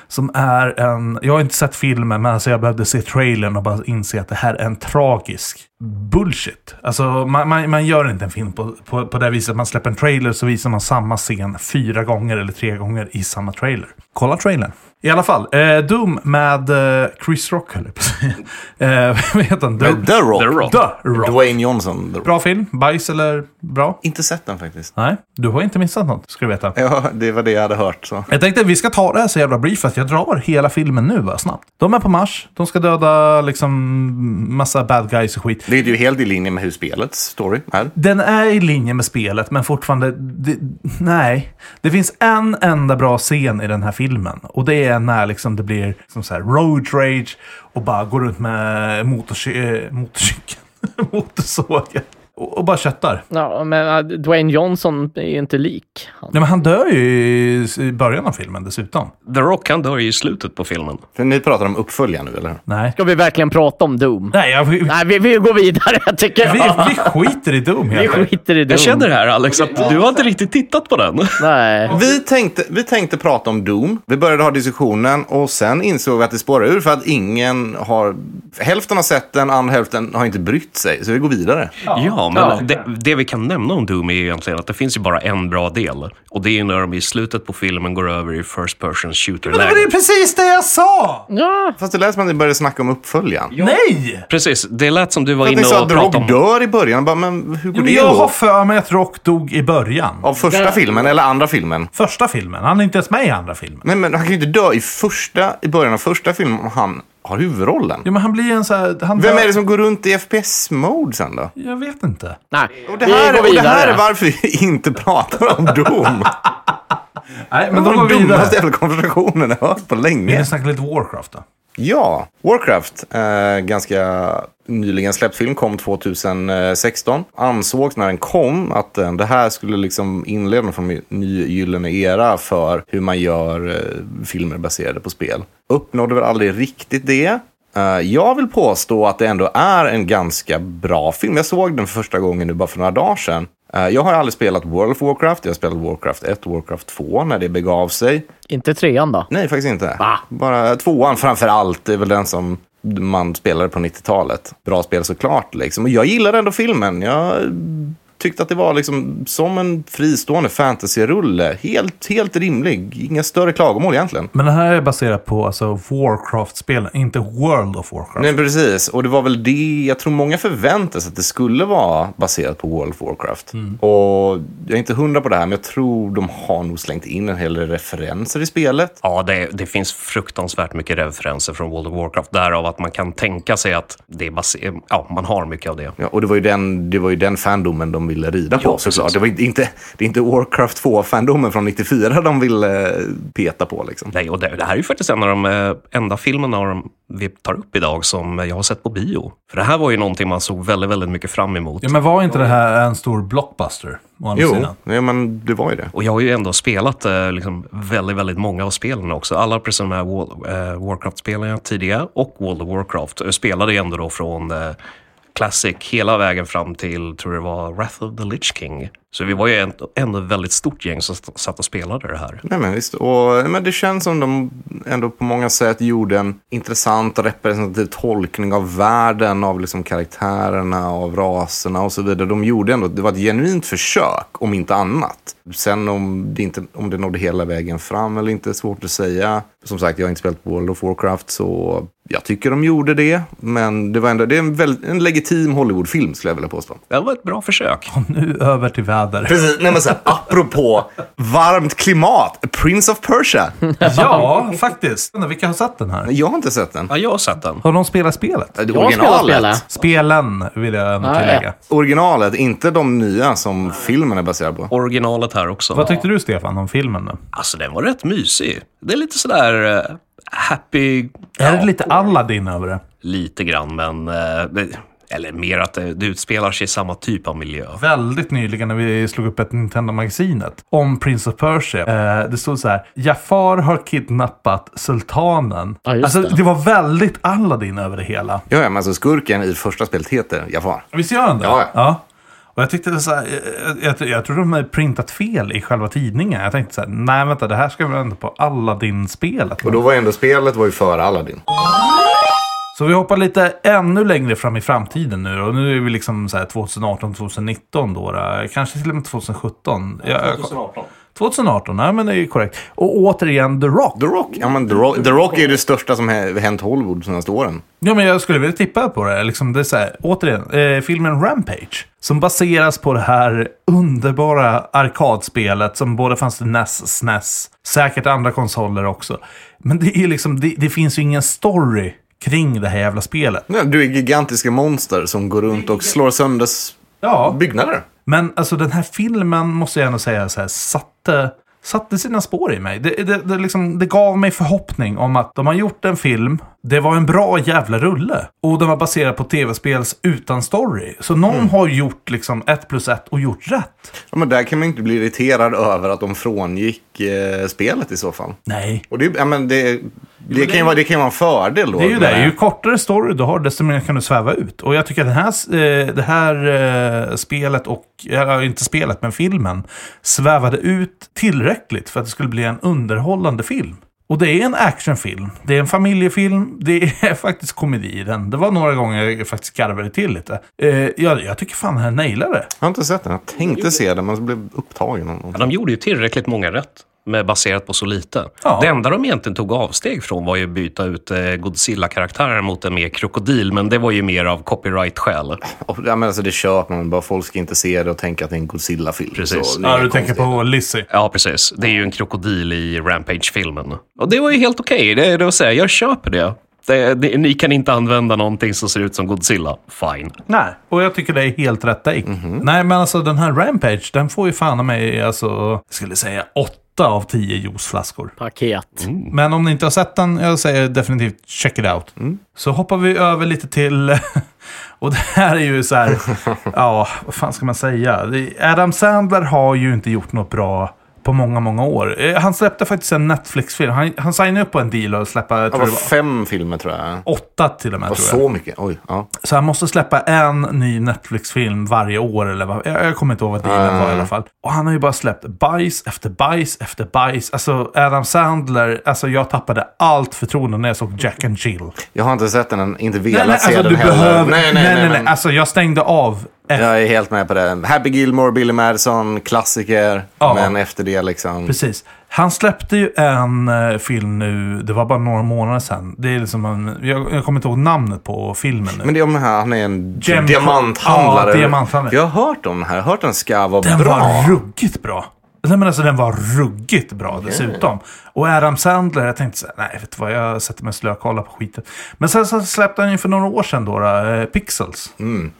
B: Som är en... Jag har inte sett filmen, men alltså jag behövde se trailern och bara inse att det här är en tragisk bullshit. Alltså, man, man, man gör inte en film på, på, på det här viset. Man släpper en trailer så visar man samma scen fyra gånger eller tre gånger i samma trailer. Kolla trailern. I alla fall, eh, Doom med eh, Chris Rock, höll jag på att säga. Eh, Vad heter han?
C: Men The Rock.
E: The Rock.
B: The Rock.
C: Dwayne Johnson. The Rock.
B: Bra film. Bajs eller bra?
C: Inte sett den faktiskt.
B: Nej, du har inte missat något, ska du veta.
C: Ja, det var det jag hade hört. Så.
B: Jag tänkte att vi ska ta det här så jävla brief att jag drar hela filmen nu bara snabbt. De är på Mars, de ska döda liksom massa bad guys och skit.
C: Det är ju helt i linje med hur spelets story är.
B: Den är i linje med spelet, men fortfarande... Det, nej. Det finns en enda bra scen i den här filmen. Och det är när liksom det blir som så här road rage och bara går runt med motorcy- eh, motorcykeln, motorsågen. Och, och bara köttar.
D: Ja, men eh, Dwayne Johnson är ju inte lik. Han.
B: Nej, men han dör ju i, i början av filmen dessutom.
E: The Rock, han dör ju i slutet på filmen.
C: För ni pratar om uppföljaren nu, eller hur?
B: Nej.
D: Ska vi verkligen prata om Doom?
B: Nej, jag, vi,
D: Nej, vi, vi går vidare tycker
B: vi,
D: jag.
B: vi skiter i Doom
D: Vi
B: helt enkelt.
D: skiter i Doom.
E: Jag känner här Alex, att du har inte riktigt tittat på den.
D: Nej.
C: Vi tänkte, vi tänkte prata om Doom. Vi började ha diskussionen och sen insåg vi att det spårar ur för att ingen har... Hälften har sett den, andra hälften har inte brytt sig. Så vi går vidare.
E: Ja, men
D: Ja.
E: Det, det vi kan nämna om Doom är ju egentligen att det finns ju bara en bra del. Och det är ju när de i slutet på filmen går över i First Person
B: Men det var
E: Shooter-läge.
B: ju precis det jag sa!
D: Ja,
C: Fast det lät som att ni började snacka om uppföljaren.
B: Nej!
E: Precis, det lät som du var
C: För att ni
E: inne
C: sa
E: och
C: att Rock
E: pratade om...
C: dör i början. Bara, men hur går
B: Jo, men
C: det
B: jag har
C: ihop?
B: för mig att Rock dog i början.
C: Av första filmen eller andra filmen?
B: Första filmen. Han är inte ens med i andra filmen.
C: Nej, men han kan ju inte dö i, första, i början av första filmen om han har huvudrollen.
B: Ja, men han blir en så här... Han
C: Vem
B: dör-
C: är det som går runt i FPS-mode sen då?
B: Jag vet inte.
D: nej.
C: Och det, här,
D: vi går
C: och det här
D: vidare.
C: är varför vi inte pratar om Doom.
B: Nej, men
C: Det
B: de
C: var
B: går
C: den
B: vidare.
C: dummaste jävla konversationen jag hört på
B: Vi
C: länge.
B: kan snacka lite Warcraft då.
C: Ja, Warcraft, eh, ganska nyligen släppt film, kom 2016. Ansågs när den kom att eh, det här skulle liksom inleda en ny gyllene era för hur man gör eh, filmer baserade på spel. Uppnådde väl aldrig riktigt det. Eh, jag vill påstå att det ändå är en ganska bra film. Jag såg den för första gången nu bara för några dagar sedan. Eh, Jag har aldrig spelat World of Warcraft. Jag har spelat Warcraft 1 och Warcraft 2 när det begav sig.
D: Inte trean då?
C: Nej, faktiskt inte. Bara tvåan framför allt är väl den som man spelade på 90-talet. Bra spel såklart. Liksom. Och jag gillade ändå filmen. Jag tyckte att det var liksom som en fristående fantasy-rulle. Helt, helt rimlig. Inga större klagomål egentligen.
B: Men det här är baserat på alltså, Warcraft-spelen, inte World of Warcraft.
C: Nej, precis. Och det var väl det jag tror många förväntade sig att det skulle vara baserat på World of Warcraft. Och jag är inte hundra på det här, men jag tror de har nog slängt in en hel del referenser i spelet.
E: Ja, det, det finns fruktansvärt mycket referenser från World of Warcraft. Därav att man kan tänka sig att det är baser... ja, man har mycket av det.
C: Ja, och det var ju den, det var ju den fandomen de ville rida på såklart. Det, var inte- inte, det är inte Warcraft 2-fandomen från 94 de ville eh, peta på. Liksom.
E: Nej, och det, det här är ju faktiskt en av de eh, enda filmerna av dem vi tar upp idag som jag har sett på bio. För det här var ju någonting man såg väldigt, väldigt mycket fram emot.
B: Ja, men var inte det här en stor blockbuster? Å andra
C: Jo,
B: sidan.
C: ja, men det var ju det.
E: Och jag har ju ändå spelat eh, liksom, väldigt, väldigt många av spelen också. Alla precis de här Wall- eh, Warcraft-spelen jag tidigare och World of Warcraft eh, spelade jag ändå då från eh, Classic hela vägen fram till, tror det var, Wrath of the Lich King. Så vi var ju ändå- ändå ett väldigt stort gäng som st- satt och spelade det här.
C: Nej, men visst. Och, men det känns som de ändå på många sätt gjorde en intressant och representativ tolkning av världen, av liksom karaktärerna, av raserna och så vidare. De gjorde ändå, det var ett genuint försök, om inte annat. Sen om det, inte, om det nådde hela vägen fram eller inte, är svårt att säga. Som sagt, jag har inte spelat World of Warcraft, så jag tycker de gjorde det. Men det var ändå, det är en, väldigt, en legitim Hollywoodfilm, skulle jag vilja påstå.
E: Det var ett bra försök.
B: Och nu över till väder.
C: Precis, nej men så här, apropå varmt klimat, Prince of Persia.
B: ja, faktiskt. Undrar Vilka har sett den här?
C: Jag har inte sett den.
E: Ja, jag har sett den.
B: Har de spelat spelet?
C: Eh, Det
D: Jag spelar spela.
C: originalet.
B: Spelen vill jag ändå
D: ja.
B: tillägga.
C: Originalet, inte de nya som filmen är baserad på.
E: Originalet här också.
B: Vad tyckte du, Stefan, om filmen? Då?
E: Alltså, den var rätt mysig. Det är lite sådär eh, happy...
B: Är det lite Aladdin över det?
E: Lite grann, men... eh, det- Eller mer att eh, det, det utspelar sig i samma typ av miljö.
B: väldigt nyligen när vi slog upp ett Nintendo-magasinet om Prince of Persia. Eh, det stod så här. Jafar har kidnappat sultanen.
D: Ja, just
B: alltså,
D: det.
B: det var väldigt Aladdin över det hela.
C: Ja, ja, men alltså skurken i första spelet heter Jafar.
B: Visst gör han det?
C: Ja, ja.
B: Och jag tyckte så här, jag, jag, jag tror de har printat fel i själva tidningen. Jag tänkte så här, nej vänta, det här ska väl ändå på Aladdin-spelet.
C: Och då var ändå spelet var ju före Aladdin.
B: Så vi hoppar lite ännu längre fram i framtiden nu. Och nu är vi liksom så här 2018, 2019 då. då. Kanske till och med 2017. Jag-
E: 2018.
B: 2018, nej men det är ju korrekt. Och återigen The Rock.
C: The Rock, ja, men The Rock, The Rock är ju det största som hä- hänt Hollywood de senaste åren.
B: Ja, men jag skulle vilja tippa på det. Liksom det är så här, återigen, eh, filmen Rampage. Som baseras på det här underbara arkadspelet som både fanns till E NES, SNES, säkert andra konsoler också. Men det, är liksom, det, det finns ju ingen story kring det här jävla spelet.
C: Ja, Du är gigantiska monster som går runt och slår sönder s-
B: Ja,
C: byggnader.
B: men alltså den här filmen måste jag ändå säga så här, satte, satte sina spår i mig. Det, det, det, liksom, det gav mig förhoppning om att de har gjort en film, det var en bra jävla rulle. Och den var baserad på tv-spels utan story. Så någon har gjort liksom ett plus ett och gjort rätt.
C: Ja, men där kan man inte bli irriterad över att de frångick eh, spelet i så fall.
B: Nej.
C: Och det, ja, men det, det, kan ju vara, det kan ju vara en fördel då.
B: Det är ju
C: men-
B: det. Ju kortare story du har, desto mer kan du sväva ut. Och jag tycker att den här, eh, det här eh, spelet, och eller, inte spelet, men filmen, svävade ut tillräckligt för att det skulle bli en underhållande film. Och det är en actionfilm, det är en familjefilm, det är faktiskt komedi i den. Det var några gånger jag faktiskt garvade till lite. Eh, jag, jag tycker fan den här nailade det.
C: Jag har inte sett den. Jag tänkte se den, men så blev jag upptagen. av något.
E: Ja, de gjorde ju tillräckligt många rätt. Med baserat på så lite.
B: Ja.
E: Det enda de egentligen tog avsteg från var ju att byta ut eh, Godzilla-karaktären mot en mer krokodil, men det var ju mer av copyright-skäl.
C: Och, ja, men alltså, det köper man. Bara folk ska inte se det och tänka att det är en Godzilla-film.
E: Precis.
C: Så det är
B: Ja, du
C: inget
B: tänker
C: konstigt.
B: på Lizzie.
E: Ja, precis. Det är ju en krokodil i Rampage-filmen. Och det var ju helt okej. Det, det var så här, jag köper det. Det, det. Ni kan inte använda någonting som ser ut som Godzilla. Fine.
B: Nej, och jag tycker det är helt rätt take. Nej, men alltså den här Rampage, den får ju fan av mig, alltså, jag skulle säga åtta av tio juiceflaskor.
D: Paket.
C: Mm.
B: Men om ni inte har sett den, jag säger definitivt check it out. Så hoppar vi över lite till, och det här är ju så här, ja, vad fan ska man säga? Det- Adam Sandler har ju inte gjort något bra på många, många år. Eh, Han släppte faktiskt en Netflix-film. Han, han signade upp på en deal och släppa, jag
C: Ja,
B: tror
C: Det
B: det
C: var
B: var
C: fem filmer tror jag.
B: åtta till och med.
C: Och
B: tror jag.
C: så mycket? Oj. Ja.
B: Så han måste släppa en ny Netflix-film varje år. Eller vad, jag, jag kommer inte ihåg vad dealen var i alla fall. Och han har ju bara släppt bajs efter bajs efter bajs. Alltså Adam Sandler, alltså jag tappade allt förtroende när jag såg Jack and Jill.
C: Jag har inte sett den, än, inte velat
B: Nej, nej,
C: se
B: alltså,
C: den
B: du
C: heller.
B: behöver,
C: Nej, nej, nej. nej, nej.
B: Alltså jag stängde av. Efter,
C: Jag är helt med på det. Happy Gilmore, Billy Madison, klassiker.
B: Ja.
C: Men efter det liksom...
B: Precis. Han släppte ju en eh, film nu, det var bara några månader sedan. Det är liksom en, jag, jag kommer inte ihåg namnet på filmen nu.
C: Men det är om den här, han är en
B: Gem-
C: diamanthandlare.
B: Ja, diamanthandlare.
C: Jag har hört om den här. Jag har hört den ska vara
B: Den
C: bra.
B: var ruggigt bra. Nej men alltså den var ruggigt bra dessutom. Och Adam Sandler, jag tänkte såhär, nej vet du vad, jag sätter mig och slökollar på skiten. Men sen så släppte han ju för några år sedan då, då eh, Pixels.
C: Mm.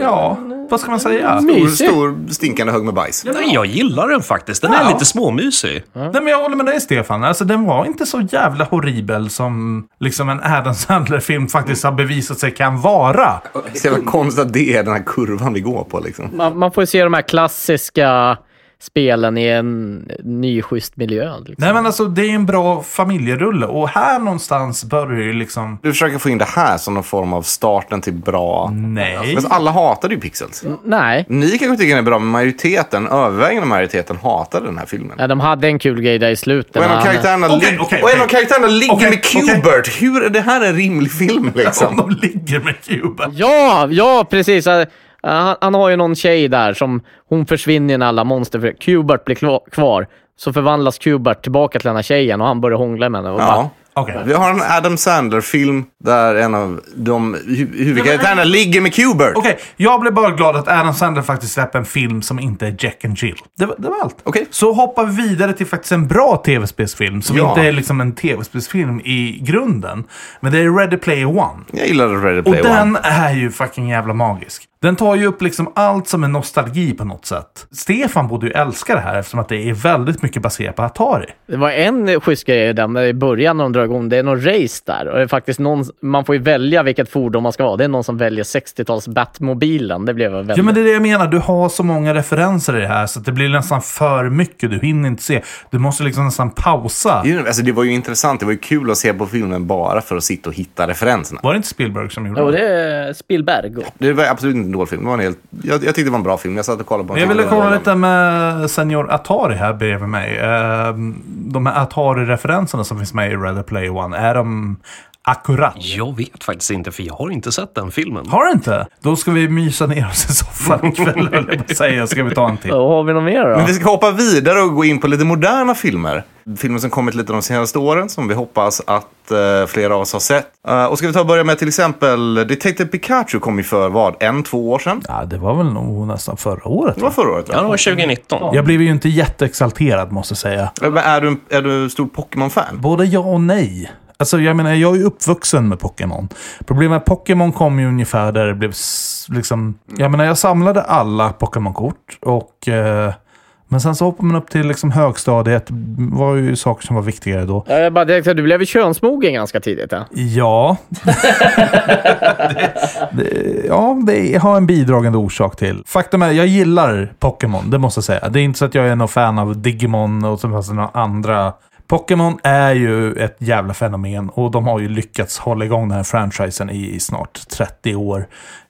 B: Ja, vad ska man säga?
C: Stor,
D: Mysig.
C: stor stinkande hög med bajs.
E: Nej, jag gillar den faktiskt. Den
B: Ja.
E: är lite småmysig.
B: Nej men jag håller med dig Stefan, alltså den var inte så jävla horribel som liksom en Adam Sandler-film faktiskt har bevisat sig kan vara.
C: Så jävla konstigt att det är den här kurvan vi går på liksom.
D: Man, man får ju se de här klassiska spelen i en ny schysst miljö. Liksom.
B: Nej men alltså det är en bra familjerulle och här någonstans börjar ju liksom,
C: Du försöker få in det här som någon form av starten till bra...
B: nej.
C: Men alla hatade ju Pixels.
B: Mm.
D: Nej.
C: Ni kanske tycker den är bra, men majoriteten, övervägande majoriteten, hatade den här filmen.
D: Nej, de hade en kul grej där i slutet.
C: Och en
D: när
C: av
D: han-
C: karaktärerna,
B: Okej,
C: lig-
B: okej,
C: och en
B: okej.
C: av karaktärerna ligger
B: Okej,
C: med
B: okej.
C: Qbert. Hur är det här en rimlig film
B: Som
C: liksom?
B: de ligger med Cuba.
D: Ja, ja precis. Eh, Han, han har ju någon tjej där som hon försvinner när alla monster... För Qbert blir kva- kvar. Så förvandlas Qbert tillbaka till den här tjejen och han börjar hångla med henne. Och bara,
C: Ja.
B: Okej.
C: Vi har en Adam Sandler-film där en av de hu- huvudkaraktärerna ligger med Qbert. Okej,
B: Okej, jag blev bara glad att Adam Sandler faktiskt släppte en film som inte är Jack and Jill. Det var, det var allt.
C: Okej.
B: Så hoppar vi vidare till faktiskt en bra tv-spelsfilm som
C: Ja.
B: inte är liksom en tv-spelsfilm i grunden. Men det är Ready Player One.
C: jag gillade Ready
B: Och
C: Player
B: den
C: One.
B: är ju fucking jävla magisk. Den tar ju upp liksom allt som är nostalgi på något sätt. Stefan borde ju älska det här eftersom att det är väldigt mycket baserat på Atari.
D: Det var en schysst grej i den i början när de drar igång. Det är någon race där. Och det är faktiskt någon, man får ju välja vilket fordon man ska vara. Det är någon som väljer 60-tals Batmobilen. Det blev väl väldigt...
B: Ja, men det är det jag menar. Du har så många referenser i det här så att det blir nästan för mycket. Du hinner inte se. Du måste liksom nästan pausa.
C: Ju- Alltså, det var ju intressant. Det var ju kul att se på filmen bara för att sitta och hitta referenserna.
B: Var det inte Spielberg som gjorde
D: Jo, det är Spielberg.
C: Det var absolut inte en dålig film. Det var en helt... jag, jag tyckte det var en bra film. Jag satt och kollade på den.
B: Jag ville
C: tidigare
B: kolla
C: dagen.
B: lite med Senior Atari här bredvid mig. Ehm, De här Atari-referenserna som finns med i Ready Player One, är de Akkurat.
E: Jag vet faktiskt inte, för jag har inte sett den filmen.
B: Har du inte? Då ska vi mysa ner oss i soffan ikväll, höll jag på att säga. Ska vi ta en till?
D: Då har vi något mer då?
C: Men vi ska hoppa vidare och gå in på lite moderna filmer. Filmer som kommit lite de senaste åren, som vi hoppas att eh, flera av oss har sett. Eh, och ska vi ta och börja med till exempel Detective Pikachu kom ju för vad, en, två år sedan?
B: Ja, det var väl nog nästan förra året.
C: Det var förra året va?
E: Ja, det var 2019.
B: Jag blev ju inte jätteexalterad, måste jag säga.
C: Eh, Men är du, en- är du en stor Pokémon-fan?
B: Både ja och nej. Alltså jag menar, jag är ju uppvuxen med Pokémon. Problemet med Pokémon kom ju ungefär där det blev s- liksom... Jag menar, jag samlade alla Pokémon-kort och... Eh, men sen så hoppade man upp till liksom högstadiet. var ju saker som var viktigare då.
D: Jag bara direkt, du blev ju könsmogen ganska tidigt. Ja.
B: Ja. det, det, ja, det har en bidragande orsak till. Faktum är, jag gillar Pokémon, det måste jag säga. Det är inte så att jag är någon fan av Digimon och så- alltså några andra. Pokémon är ju ett jävla fenomen och de har ju lyckats hålla igång den här franchisen i, i snart 30 år.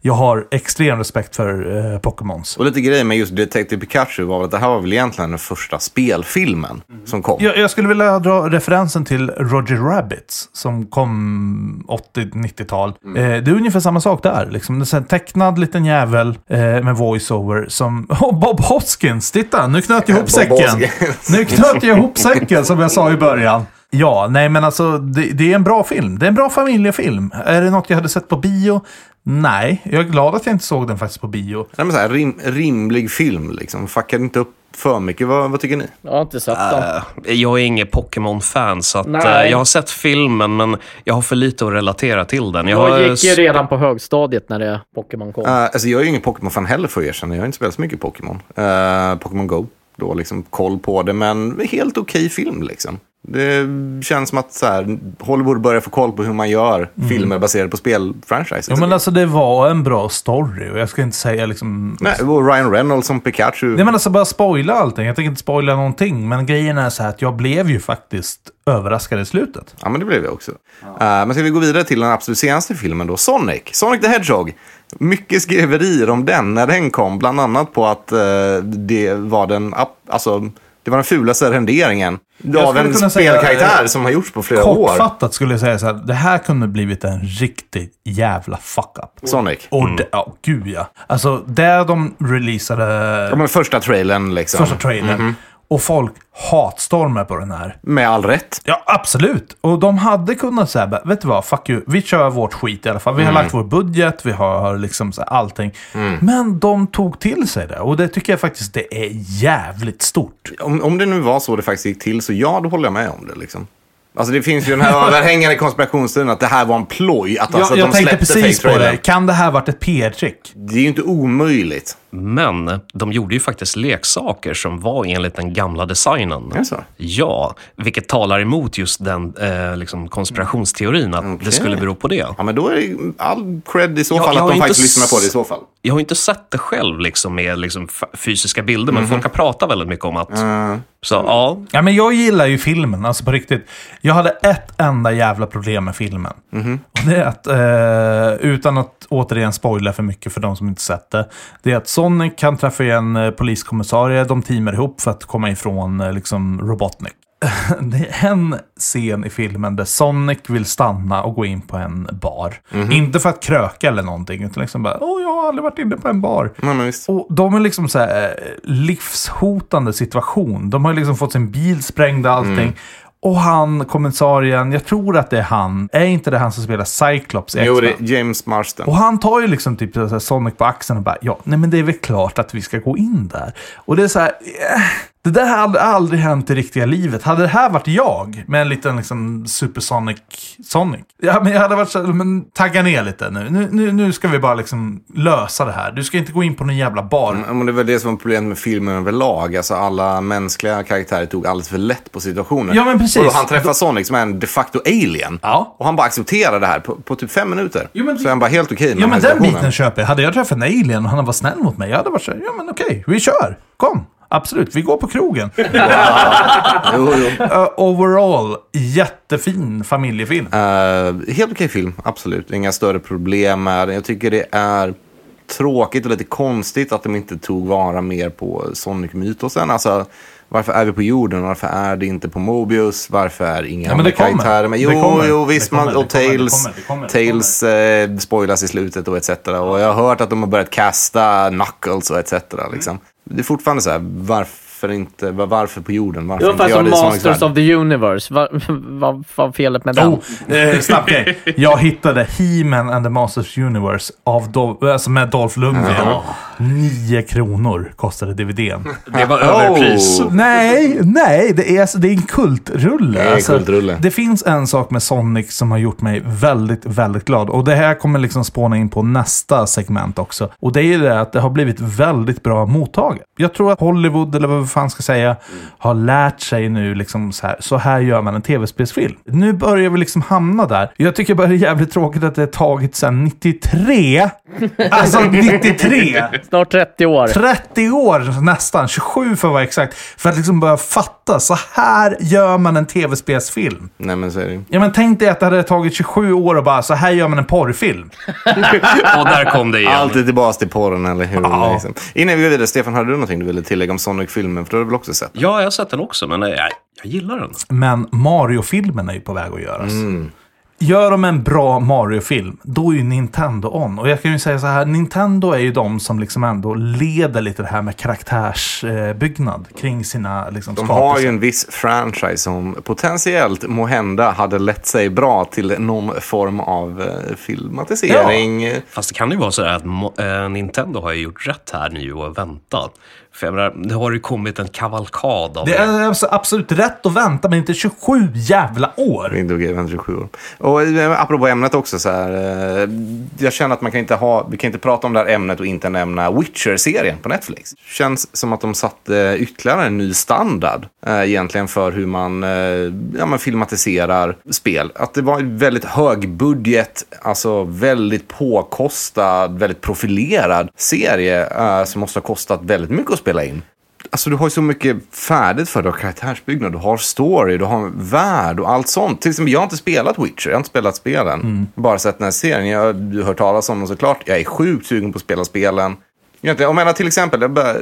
B: Jag har extrem respekt för eh, Pokémons.
C: Och lite grejer med just Detective Pikachu var att det här var väl egentligen den första spelfilmen som kom.
B: Jag, jag skulle vilja dra referensen till Roger Rabbit som kom 80-90-tal.
C: Mm.
B: Eh, det är ungefär samma sak där. Liksom. Det är en tecknad liten jävel eh, med voiceover som... Åh, Bob Hoskins! Titta, nu knöt jag ihop
C: Bob
B: säcken!
C: Hoskins.
B: Nu knöt jag ihop säcken som jag sa i början. Ja, nej men alltså det, det är en bra film. Det är en bra familjefilm. Är det något jag hade sett på bio? Nej, jag är glad att jag inte såg den faktiskt på bio.
C: Nej, men så här, rim, rimlig film liksom. Fuckar inte upp för mycket. Vad, vad tycker ni?
D: Jag har inte sett dem.
E: Eh, Jag är ingen Pokémon-fan, så att,
D: Nej.
E: eh, jag har sett filmen, men jag har för lite att relatera till den. Jag har,
D: Jag gick ju
E: s-
D: redan på högstadiet när det Pokémon kom.
C: Eh, alltså, jag är ju ingen Pokémon-fan heller för er erkänna. Jag har inte spelat så mycket Pokémon. Eh, Pokémon Go. Då liksom koll på det, men helt okej film liksom. Det känns som att så här, Hollywood börjar få koll på hur man gör filmer baserade på spelfranchises.
B: Mm. Ja, men alltså det var en bra story och jag ska inte säga liksom...
C: Nej, och Ryan Reynolds som Pikachu.
B: Nej men alltså bara spoila allting. Jag tänker inte spoila någonting. Men grejen är så här att jag blev ju faktiskt överraskad i slutet.
C: Ja, men det blev jag också. Eh, men ska vi gå vidare till den absolut senaste filmen då, Sonic. Sonic the Hedgehog. Mycket skriverier om den när den kom, bland annat på att eh, det var den, ap- alltså, det var den fulaste renderingen av
B: skulle
C: en
B: kunna säga, eh,
C: spelkaraktär som har gjorts på flera år.
B: Kortfattat skulle jag säga så här. Det här kunde blivit en riktig jävla fuck-up.
C: Sonic.
B: Och det, ja, gud ja. Alltså, där de releasade
C: Ja, men första trailern liksom.
B: första trailern. Och folk hatstormar på den här.
C: Med all rätt.
B: Ja, absolut. Och de hade kunnat säga, "Bara, vet du vad, fuck you. Vi kör vårt skit i alla fall. Vi
C: Mm.
B: har lagt vår budget, vi har liksom så här allting. Men de tog till sig det. Och det tycker jag faktiskt det är jävligt stort.
C: Om, om det nu var så det faktiskt gick till, så ja, då håller jag med om det. Liksom. Alltså det finns ju den här överhängande konspirationsteorin att det här var en ploj. Att, alltså,
B: jag
C: att
B: jag
C: de
B: tänkte
C: släppte
B: precis på det.
C: fake-trailern.
B: Kan det här varit ett PR-trick?
C: Det är ju inte omöjligt.
E: Men de gjorde ju faktiskt leksaker som var enligt den gamla designen.
C: Är det så?
E: Ja, vilket talar emot just den eh, liksom konspirationsteorin, att det skulle bero på det.
C: Ja, men då är det ju all cred i så
E: Ja,
C: fall
E: jag
C: att
E: har
C: de
E: inte
C: faktiskt
E: s-
C: lyssnar på det i så fall.
E: Jag har inte sett det själv liksom, med liksom, f- fysiska bilder,
D: Mhm.
E: men folk har pratat väldigt mycket om att... Så ja,
B: Ja, men jag gillar ju filmen, alltså på riktigt. Jag hade ett enda jävla problem med filmen. Och det är att, eh, utan att återigen spoila för mycket för de som inte sett det, det är att Sonic kan träffa en eh, poliskommissarie, de teamar ihop för att komma ifrån eh, liksom Robotnik. Det är en scen i filmen där Sonic vill stanna och gå in på en bar. Inte för att kröka eller någonting, utan liksom bara åh, jag har aldrig varit inne på en bar.
C: Nej, men visst.
B: Och de är liksom så här eh, livshotande situation. De har ju liksom fått sin bil sprängd och allting.
C: Mm.
B: Och han, kommissarien, jag tror att det är han. Är inte det han som spelar Cyclops i
C: Jo,
B: X-Men?
C: det är James Marston.
B: Och han tar ju liksom typ så här Sonic på axeln och bara ja, nej men det är väl klart att vi ska gå in där. Och det är så här, eh, det där hade aldrig hänt i riktiga livet. Hade det här varit jag med en liten liksom supersonic Sonic. Ja, men jag hade varit så här, men tagga ner lite nu. Nu, nu. nu ska vi bara liksom lösa det här. Du ska inte gå in på någon jävla bar.
C: Ja, men det var det som var problemet med filmen överlag. Alltså alla mänskliga karaktärer tog alldeles för lätt på situationen.
B: Ja, men precis.
C: Och då han träffar Sonic som är en de facto alien.
B: Ja.
C: Och han bara accepterar det här på, på typ fem minuter.
B: Jo, men-
C: Så är han bara helt okej med
B: Ja men
C: här
B: den
C: situationen.
B: biten köper jag. Hade jag träffat en alien och han var snäll mot mig, jag hade varit så här, ja men okej, vi kör. Kom, absolut, vi går på krogen.
C: Jo, jo.
B: Eh, overall, jättefin familjefilm.
C: Eh, helt okej film, absolut. Inga större problem med den. Jag tycker det är tråkigt och lite konstigt att de inte tog vara mer på Sonic-mytosen. Alltså, varför är vi på jorden? Varför är det inte på Mobius? Varför är inga
B: Ja, men det
C: andra
B: kommer.
C: karaktärer med?
B: Det
C: Jo,
B: kommer.
C: jo,
B: Det
C: visst.
B: kommer,
C: man,
B: det
C: och
B: kommer, det
C: Tails,
B: kommer, det kommer, det
C: Tails eh, spoilas i slutet och etc. Och jag har hört att de har börjat kasta Knuckles och etc.
B: Mm.
C: Liksom. Det är fortfarande så här, varför inte? var- Varför på jorden? Varför
D: Det
C: inte
D: var
C: göra
D: fan
C: det i
D: som
C: Sonics
D: Masters
C: värld?
D: of the Universe. Vad vad var felet med den?
B: Oh, eh, snabb grej. Jag hittade He-Man and the Masters Universe av Dol- alltså med Dolph Lundgren. Nio kronor kostade DVDn.
E: Det var överpris.
C: Oh.
B: Nej, nej. Det är, alltså, det är en kultrulle. Alltså,
C: Det är en kultrulle.
B: det finns en sak med Sonic som har gjort mig väldigt, väldigt glad. Och det här kommer liksom spåna in på nästa segment också. Och det är ju det att det har blivit väldigt bra mottaget. Jag tror att Hollywood, eller vad vi fan ska säga, har lärt sig nu liksom så här, så här gör man en tv-spelsfilm. Nu börjar vi liksom hamna där. Jag tycker bara det är jävligt tråkigt att det har tagit sedan 93. Alltså 93!
D: Snart 30 år.
B: 30 år nästan, 27 för att vara exakt, för att liksom börja fatta. Så här gör man en tv-spelsfilm.
C: Nej, men så är det ju.
B: Ja, men tänk dig att det hade tagit 27 år och bara, så här gör man en porrfilm.
E: Och där kom det igen.
C: Alltid tillbaka till porren eller hur? Liksom. Innan vi går vidare, Stefan, hade du någonting du ville tillägga om Sonic-filmen? För du har du väl också sett den?
E: Ja, jag har sett den också, men eh, jag, jag gillar den.
B: Men Mario-filmen är ju på väg att göras.
C: Mm.
B: Gör de en bra Mario-film, då är ju Nintendo on. Och jag kan ju säga så här, Nintendo är ju de som liksom ändå leder lite det här med karaktärsbyggnad kring sina liksom,
C: De har ju en viss franchise som potentiellt, måhända, hade lett sig bra till någon form av eh, filmatisering.
E: Fast det kan ju vara så här att Mo- eh, Nintendo har ju gjort rätt här nu och väntat. För jag menar, det har ju kommit en kavalkad av
B: Det är alltså absolut rätt att vänta, men inte 27 jävla år.
C: Ring Dog Event 27 år. Och eh, apropå ämnet också så här. eh, Jag känner att man kan inte ha, vi kan inte prata om det här ämnet och inte nämna Witcher-serien på Netflix. Känns som att de satte ytterligare en ny standard eh, egentligen för hur man, eh, ja, man filmatiserar spel. Att det var en väldigt hög budget, alltså väldigt påkostad, väldigt profilerad serie eh, som måste ha kostat väldigt mycket att spela in. Alltså du har ju så mycket färdigt för dig. Du har karaktärsbyggnad, du har story, du har en värld och allt sånt. Till exempel, jag har inte spelat Witcher, jag har inte spelat spelen. Bara sett den här serien. Jag har hört talas om den såklart. Jag är sjukt sugen på att spela spelen. Jag vet inte, Om jag menar till exempel, jag bara, eh,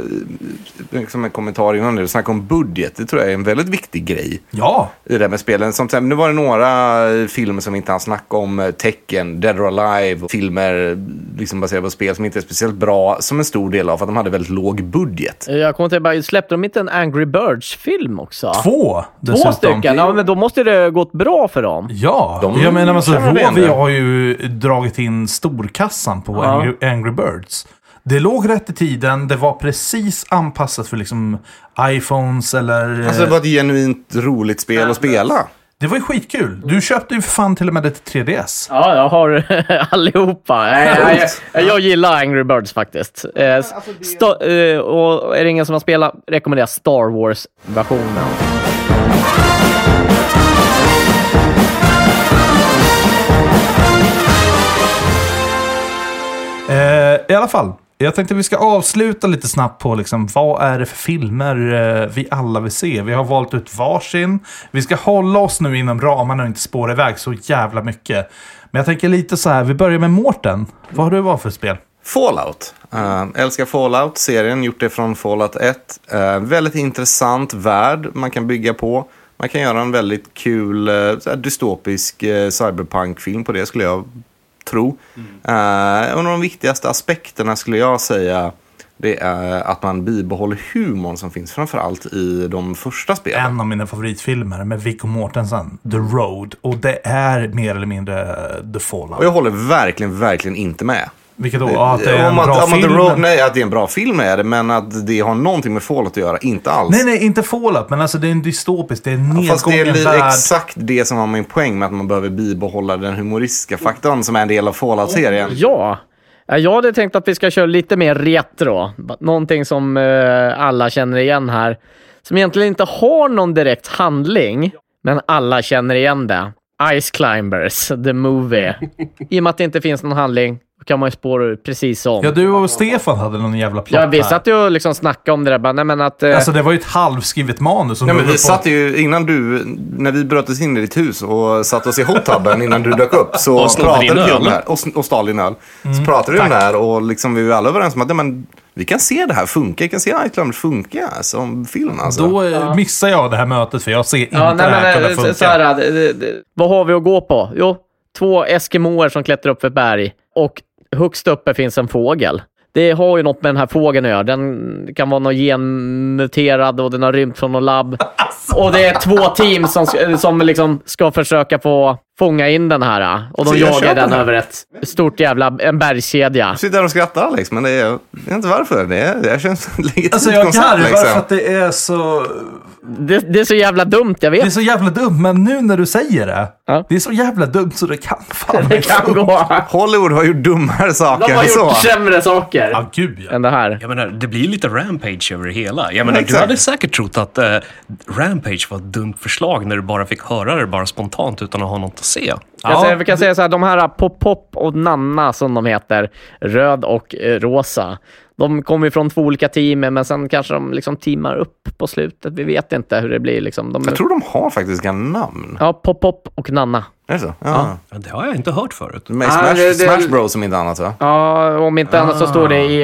C: liksom en kommentar innan det, du snackade om budget. Det tror jag är en väldigt viktig grej
B: Ja,
C: i det där med spelen. Som, till exempel, nu var det några eh, filmer som vi inte hann snacka om. eh, Tecken, Dead or Alive, filmer eh, liksom baserade på spel som inte är speciellt bra som en stor del av för att de hade väldigt låg budget.
D: Jag kommer inte bara, släppte de inte en Angry Birds-film också?
B: två dessutom.
D: Två stycken? Ja, men då måste det gått bra för dem.
B: Ja,
C: De
B: jag menar alltså,
C: kan man väl
B: Rovio
C: ändra.
B: har ju dragit in storkassan på Angry, Angry Birds. Det låg rätt i tiden, det var precis anpassat för liksom iPhones eller...
C: Alltså
B: eh,
C: det var ett genuint roligt spel att spela.
B: det var ju skitkul. Du köpte ju för fan till och med det till 3DS.
D: Ja, jag har allihopa. Jag, jag, jag gillar Angry Birds faktiskt. Eh, sta- eh, och är det ingen som har spelat rekommenderar jag Star Wars-versionen.
B: Eh, I alla fall, jag tänkte vi ska avsluta lite snabbt på liksom, vad är det för filmer eh, vi alla vill se. Vi har valt ut varsin. Vi ska hålla oss nu inom ramarna och inte spåra iväg så jävla mycket. Men jag tänker lite så här, vi börjar med Mårten. Vad har du valt för spel?
C: Fallout. Eh, älskar Fallout, serien, gjort det från Fallout 1. Eh, väldigt intressant värld man kan bygga på. Man kan göra en väldigt kul eh, så här dystopisk eh, cyberpunk-film på det skulle jag tro. Eh, en av de viktigaste aspekterna skulle jag säga det är att man bibehåller humorn som finns framförallt i de första spelen.
B: En av mina favoritfilmer med Viggo Mortensen, The Road. Och det är mer eller mindre eh, The
C: Och jag
B: Fallout.
C: håller verkligen, verkligen inte med.
B: Vilket då? Ja, att det är en
C: Om att-
B: bra
C: om att The
B: film.
C: Road- Nej, att det är en bra film är det, men att det har någonting med Fallout att göra, inte alls.
B: Nej, nej, inte Fallout, men alltså det är en dystopisk, det är en
C: Fast det är
B: nedgången
C: li-
B: värld.
C: exakt det som var min poäng med att man behöver bibehålla den humoristiska faktorn som är en del av Fallout-serien.
D: Ja. Ja, Jag hade tänkt att vi ska köra lite mer retro. Någonting som eh, alla känner igen här. Som egentligen inte har någon direkt handling, men alla känner igen det. Ice Climbers, the movie. I och med att det inte finns någon handling Då kan man ju spåra ur precis som.
B: Ja, du och Stefan hade någon jävla plott
D: Ja, vi
B: här.
D: satt ju och liksom snackade om det där. Bara, nej, men att, eh,
B: Alltså det var ju ett halvskrivet manus. Som
C: Nej, men
B: du höll
C: vi
B: på-
C: satt ju innan du, när vi bröt oss in i ditt hus och satte oss i hot-tubben innan du dök upp. Så
E: Och snodde din
C: pratade vi om
E: öl.
C: det här. Och, sn- och stal din öl.
B: Mm.
C: Så pratade vi om det här och liksom, vi var alla överens om att nej, men, vi kan se det här funka. Vi kan se Iceland funka som film alltså.
B: Då eh, missar jag det här mötet för jag ser inte
D: ja, nej,
B: det här
D: men,
B: kunna
D: eh,
B: funka.
D: så här, det- det- det- vad har vi att gå på? Jo, två eskimoer som klättrar upp för ett berg och högst uppe finns en fågel. Det har ju något med den här fågeln att göra. Den kan vara någon genmuterad och den har rymt från något labb. Och det är två team som, sk- som liksom ska försöka få fånga in den här. eh, Och de
C: Så jag
D: jagar
C: köper
D: den
C: den.
D: över ett stort jävla en bergskedja.
C: Du sitter där och skrattar Alex, men det är, jag vet inte varför. Det, är, det här känns som ett legitimt
B: Alltså jag
C: koncept,
B: garvar
C: liksom.
B: för att det är så...
D: Det, det är så jävla dumt, jag
B: Det är
D: vet.
B: så jävla dumt, men nu när du säger det.
D: Ja.
B: Det är så jävla dumt så det kan fan
D: Det kan gå.
C: Hollywood har gjort dummare saker
D: De har
C: än så.
D: gjort sämre saker
B: Ja, gud ja.
D: än det här.
E: Jag menar, det blir lite rampage över det hela. Jag menar, du
C: Exakt.
E: hade säkert trott att eh, rampage var ett dumt förslag när du bara fick höra det bara spontant utan att ha något att se.
D: Jag
B: Ja.
D: säger, vi kan säga så här, de här Pop-Pop och Nanna som de heter, röd och eh, rosa. De kommer ju från två olika team, men sen kanske de liksom teamar upp på slutet. Vi vet inte hur det blir. Liksom. De,
C: Jag tror de har faktiskt en namn.
D: Ja, Pop-Pop och Nanna.
C: Är det så? Ja.
E: Ja, Det har jag inte hört förut.
C: De är i
D: Ah,
C: Smash,
D: det- det-
C: Smash Bros om inte annat va?
D: Ja, om inte annat så står det i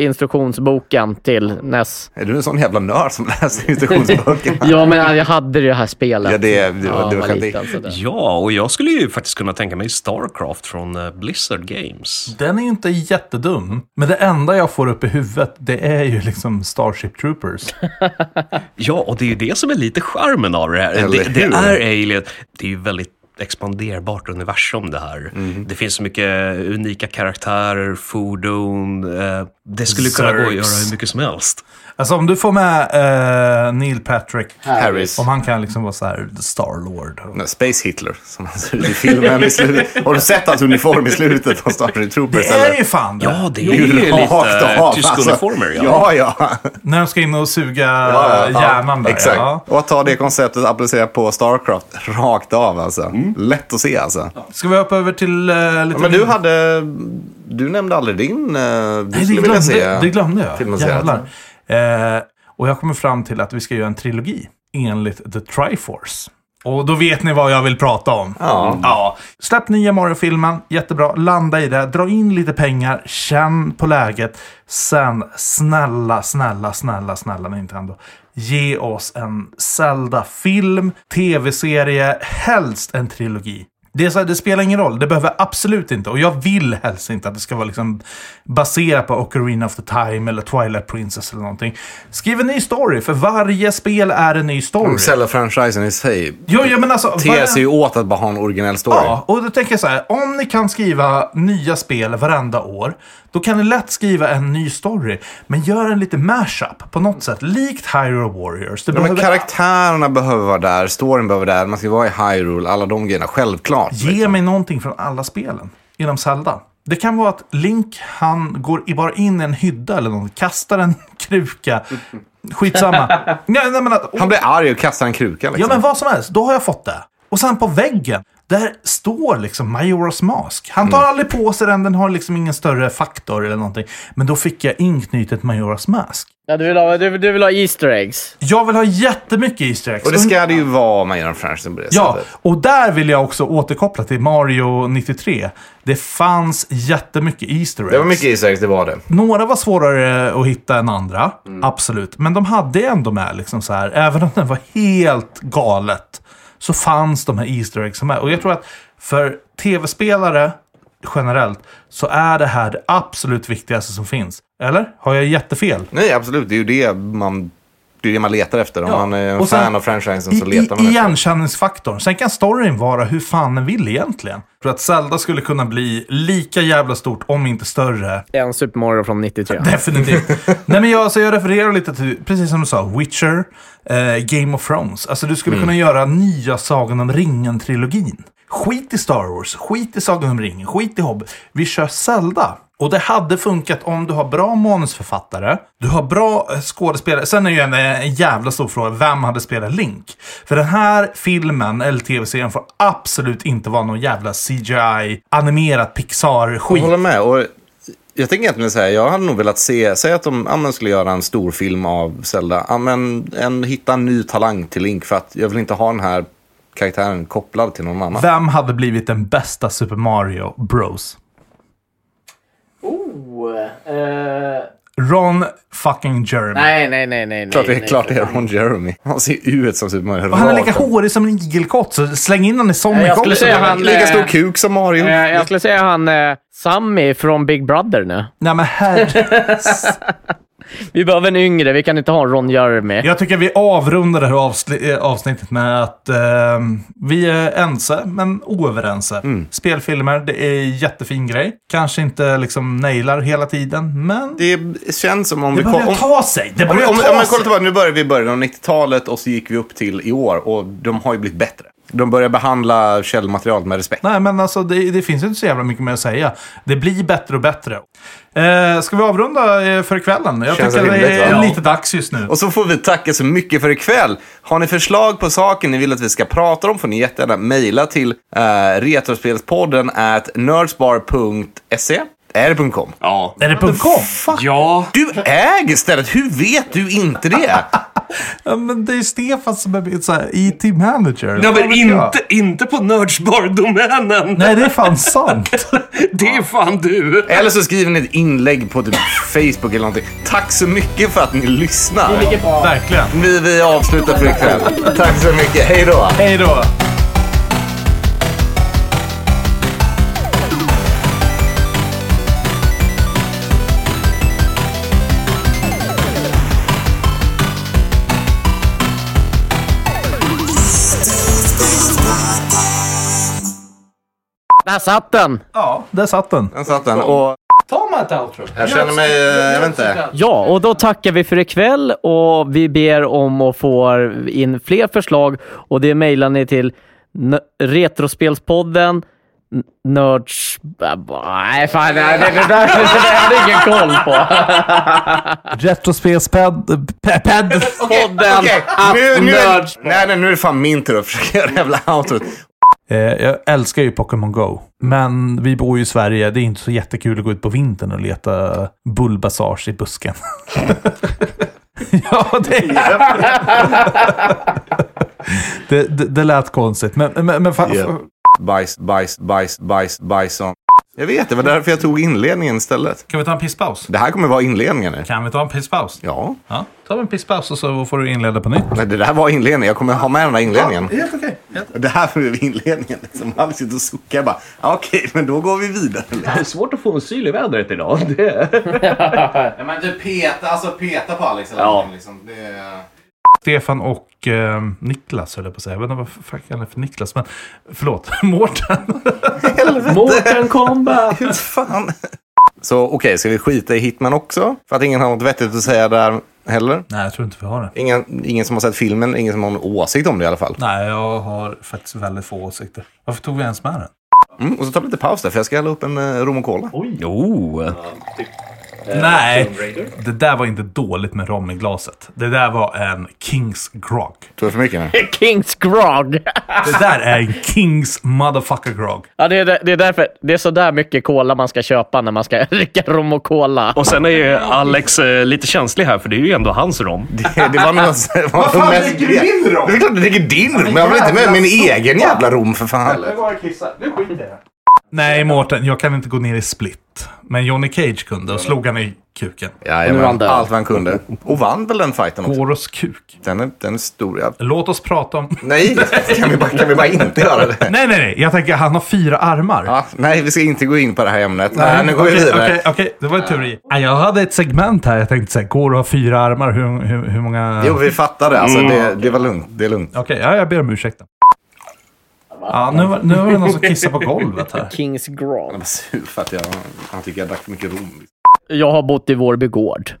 D: eh, instruktionsboken till NES.
C: Är du en sån jävla nörd som läser instruktionsböckerna?
D: Ja, men jag hade det här spelet.
C: Ja, det- det var- det var
D: man
C: skönt.
D: liten, så det-
E: Ja, och jag skulle ju faktiskt kunna tänka mig Starcraft från eh, Blizzard Games.
B: Den är ju inte jättedum. Men det enda jag får upp i huvudet, det är ju liksom Starship Troopers.
E: Ja, och det är ju det som är lite charmen av det här.
C: Eller
E: det, det
C: hur?
E: är Alien. Det är ju väldigt expanderbart universum det här. Det finns så mycket unika karaktärer, fordon. Eh, det skulle kunna gå att göra
B: Zergs.
E: hur mycket som helst.
B: Alltså om du får med eh, Neil Patrick
C: Harris.
B: Om han kan liksom vara så här The Starlord.
C: Nej, Space Hitler, som han ser ut i filmen i slutet. Har du sett hans uniform i slutet av Starship Troopers?
B: Det är ju fan det.
E: Ja, det är ju lite
C: av,
E: tysk
C: alltså.
E: uniformer. Ja.
C: Ja, ja.
B: När de ska in och suga
C: Ja, ja.
B: hjärnan där.
C: Exakt.
B: Ja.
C: Och att ta det konceptet och applicera på Starcraft rakt av alltså. Lätt att se alltså.
B: Ska vi hoppa över till eh, lite...
C: Men du hade... Du nämnde aldrig din... eh, Du
B: Nej, det
C: skulle vilja
B: glömde,
C: se.
B: det glömde jag.
C: filmaserat.
B: Jävlar. Eh, och jag kommer fram till att vi ska göra en trilogi enligt The Triforce. Och då vet ni vad jag vill prata om.
C: Ja.
B: Ja. Släpp nya Mario-filmen, jättebra. Landa i det, dra in lite pengar, känn på läget. Sen, snälla, snälla, snälla, snälla Nintendo. Ge oss en Zelda-film, tv-serie, helst en trilogi. Det, är så här, det spelar ingen roll, det behöver absolut inte. Och jag vill helst inte att det ska vara liksom baserat på Ocarina of the Time eller Twilight Princess eller någonting. Skriv en ny story, för varje spel är en ny story.
C: Mm, franchisen i sig
B: Jo, ja, men alltså,
C: ter
B: varje-
C: sig ju åt att bara ha en originell story.
B: Ja, och då tänker jag så här. Om ni kan skriva nya spel varenda år, då kan ni lätt skriva en ny story. Men gör en lite mashup på något sätt, likt Hyrule Warriors. Det
C: Ja, men
B: behöver-
C: karaktärerna behöver vara där, storyn behöver vara där, man ska vara i Hyrule, alla de grejerna. Självklart.
B: Ge mig någonting från alla spelen inom Zelda. Det kan vara att Link, han går i- bara in i en hydda eller något, kastar en kruka. Skitsamma. nej, nej, men att,
C: Han blir arg och kastar en kruka. Liksom.
B: Ja, men vad som helst. Då har jag fått det. Och sen på väggen, där står liksom Majoras mask. Han
C: Mm.
B: tar aldrig på sig den, den har liksom ingen större faktor eller någonting. Men då fick jag inknutet Majoras mask.
D: Ja, du, vill ha, du, du vill ha Easter eggs.
B: Jag vill ha jättemycket Easter eggs.
C: Och det ska det ju vara om man gör en franchise på det
B: Ja,
C: sättet.
B: och där vill jag också återkoppla till Mario 93. Det fanns jättemycket Easter eggs.
C: Det var mycket Easter eggs, det var det.
B: Några var svårare att hitta än andra,
C: Mm.
B: absolut. Men de hade ändå med, liksom så här, även om det var helt galet, så fanns de här Easter eggs med. Och jag tror att för tv-spelare generellt så är det här det absolut viktigaste som finns. Eller? Har jag jättefel?
C: Nej, absolut. Det är ju det man, det är det man letar efter. Om
B: Ja,
C: man är en
B: och sen-
C: fan av franchisen så
B: I-
C: letar man
B: i,
C: efter.
B: Igenkänningsfaktorn. Sen kan storyn vara hur fan den vill egentligen. För att Zelda skulle kunna bli lika jävla stort, om inte större,
D: En Super Mario från 93.
B: Definitivt. Nej, men jag, så jag refererar lite till, precis som du sa, Witcher, eh, Game of Thrones. Alltså du skulle kunna göra nya Sagan om ringen-trilogin. Skit i Star Wars, skit i Sagan om ringen, skit i Hobbit. Vi kör Zelda. Och det hade funkat om du har bra manusförfattare, du har bra eh, skådespelare. Sen är ju en, eh, en jävla stor fråga, vem hade spelat Link? För den här filmen, eller tv-serien, får absolut inte vara någon jävla CGI-animerat
C: Jag håller
B: Pixar-skit.
C: med. Och jag tänker egentligen så här, jag hade nog velat se, säg att de ja, men skulle göra en stor film av Zelda. Ja, men, en, hitta en ny talang till Link för att jag vill inte ha den här karaktären kopplad till någon annan.
B: Vem hade blivit den bästa Super Mario Bros?
D: Oh, eh,
B: Ron fucking Jeremy.
D: nej, nej, nej, nej.
C: Klart det,
D: nej,
C: är
D: nej,
C: klart
D: för
C: det är
D: fan.
C: Ron Jeremy. Han ser ut som Super Mario.
B: Och han är lika hårig som en igelkott, så släng in honom i Sonic
D: alltså. Jag skulle
B: också.
D: säga han-
C: Lika stor kuk som Mario.
D: Eh, Jag skulle säga han eh, Sammy från Big Brother nu.
B: Nej men herre...
D: Vi behöver en yngre, vi kan inte ha en Ron Jeremy.
B: Jag tycker vi avrundar det här avsli- eh, avsnittet med att eh, vi är ense, men oöverense.
C: Mm.
B: Spelfilmer, det är en jättefin grej. Kanske inte liksom nailar hela tiden, men det,
C: Det känns som om vi...
B: börjar
C: kom- om-
B: ta sig. Det
C: Om,
B: börjar
C: om, om,
B: ta
C: man kollar
B: sig.
C: tillbaka, nu börjar vi i början av 90-talet och så gick vi upp till i år och de har ju blivit bättre. De börjar behandla källmaterial med respekt.
B: Nej, men alltså det, det finns ju inte så jävla mycket mer att säga. Det blir bättre och bättre. Eh, ska vi avrunda eh, för kvällen? Jag
C: Känns
B: tycker det
C: rimligt,
B: är
C: va?
B: lite dags just nu.
C: Och så får vi tacka så mycket för ikväll. Har ni förslag på saker ni vill att vi ska prata om får ni jättegärna mejla till eh, retrospelspodden at nerdsbar.se. Är det .com?
E: Ja.
B: Är det .com?
E: Ja.
C: Du äger stället, hur vet du inte det?
B: Ja, men det är ju Stefan som är så här IT-manager.
E: Nej,
B: Vad
E: men
B: vet jag?
E: inte, inte på Nördsbar-domänen.
B: Nej, det är fan sant.
E: Det är fan du.
C: Eller så skriver ni ett inlägg på typ Facebook eller någonting. Tack så mycket för att ni lyssnar.
B: Verkligen.
C: Vi, vi avslutar för ikväll. Tack så mycket, hej då.
B: Hej då.
D: Där satt den!
B: Ja, där satt den.
C: Den satt den och
B: Ta mig ett outro.
C: jag känner mig, eh, jag vet inte.
D: Ja, och då tackar vi för ikväll och vi ber om att få in fler förslag och det mejlar ni till n- Retrospelspodden n- Nörds... Nej, fan. Nej, det, det där det där hade jag ingen koll på.
B: Retrospelspad... pad- pad-
D: Podden
C: Okej,
D: att
C: nu, nu,
D: Nörds...
C: nej, nej, nu är det fan min tur att försöka göra det jävla outrot.
B: Eh, Jag älskar ju Pokémon Go, men vi bor ju i Sverige. Det är inte så jättekul att gå ut på vintern och leta bullbasage i busken. ja, det är... det, det, det lät konstigt, men... men, men fan,
C: Japp. Bajs, bajs, bajs, bajs, bajson. Jag vet, det var därför jag tog inledningen istället.
B: Kan vi ta en pisspaus?
C: Det här kommer vara inledningen nu.
B: Kan vi ta en pisspaus?
C: Ja,
B: Ja, ta en pisspaus och så får du inleda på nytt.
C: nej, det där var inledningen. Jag kommer ha med den där inledningen.
B: Helt okej.
C: Det här blev inledningen. Liksom. Han sitter och suckar bara. "Ja, Okej, men då går vi vidare.
E: Det är svårt att få en syl i vädret idag.
C: men du peta, alltså peta på Alex liksom. eller
E: Ja. någonting,
B: Stefan och eh, Niklas höll jag på att säga. Jag vet inte vad fan han är för Niklas, men förlåt. Mårten.
D: Mårten Combat!
C: Hur fan? Så okej, ska vi skita i Hitman också? För att ingen har något vettigt att säga där heller.
B: Nej, jag tror inte vi har det.
C: Ingen, ingen som har sett filmen, ingen som har någon åsikt om det i alla fall.
B: Nej, jag har faktiskt väldigt få åsikter. Varför tog vi ens med den?
C: Mm, och så tar vi lite paus där, för jag ska hälla upp en eh, rom och cola.
E: Oh.
C: Eh,
B: Nej, det där var inte dåligt med rom i glaset. Det där var en Kings grog.
C: Tog jag för mycket nu?
D: Kings Grog!
B: Det där är en Kings motherfucker grog.
D: Ja, det är, det är därför. Det är sådär mycket cola man ska köpa när man ska dricka rom och cola.
E: Och sen är ju Alex eh, lite känslig här, för det är ju ändå hans rom.
C: Det, det var nog... det var nog mest-
B: min rom?
C: Det är klart du dricker din rom, men jag vill inte med min egen jävla rom för fan.
B: bara kissa. Nu skiter jag Nej, Mårten, jag kan inte gå ner i split. Men Johnny Cage kunde och slog han i kuken.
D: Nu är han
C: Jajamän,
D: död.
C: allt vad han kunde. Och vann väl den fighten också.
B: Boros kuk.
C: Den är, den är stor. Ja.
B: Låt oss prata om...
C: Nej, kan vi, bara, kan vi bara inte göra det?
B: Nej, nej, nej. Jag tänker han har fyra armar.
C: Ja, nej, vi ska inte gå in på det här ämnet. Nej, nu går vi
B: okej,
C: vidare.
B: Okej, okej. det var tur i. Ja, Jag hade ett segment här. Jag tänkte så här, går det att ha fyra armar? Hur, hur, hur många...
C: Jo, vi fattar det. Alltså, det, det var lugnt. Det är lugnt.
B: Okej, ja, jag ber om ursäkt. då. Ja, nu, var- nu var det någon som kissade på golvet här.
D: Kings Grog.
C: Jag var sur för att jag, han tycker jag drack för mycket rom.
D: Jag har bott i Vårby Gård.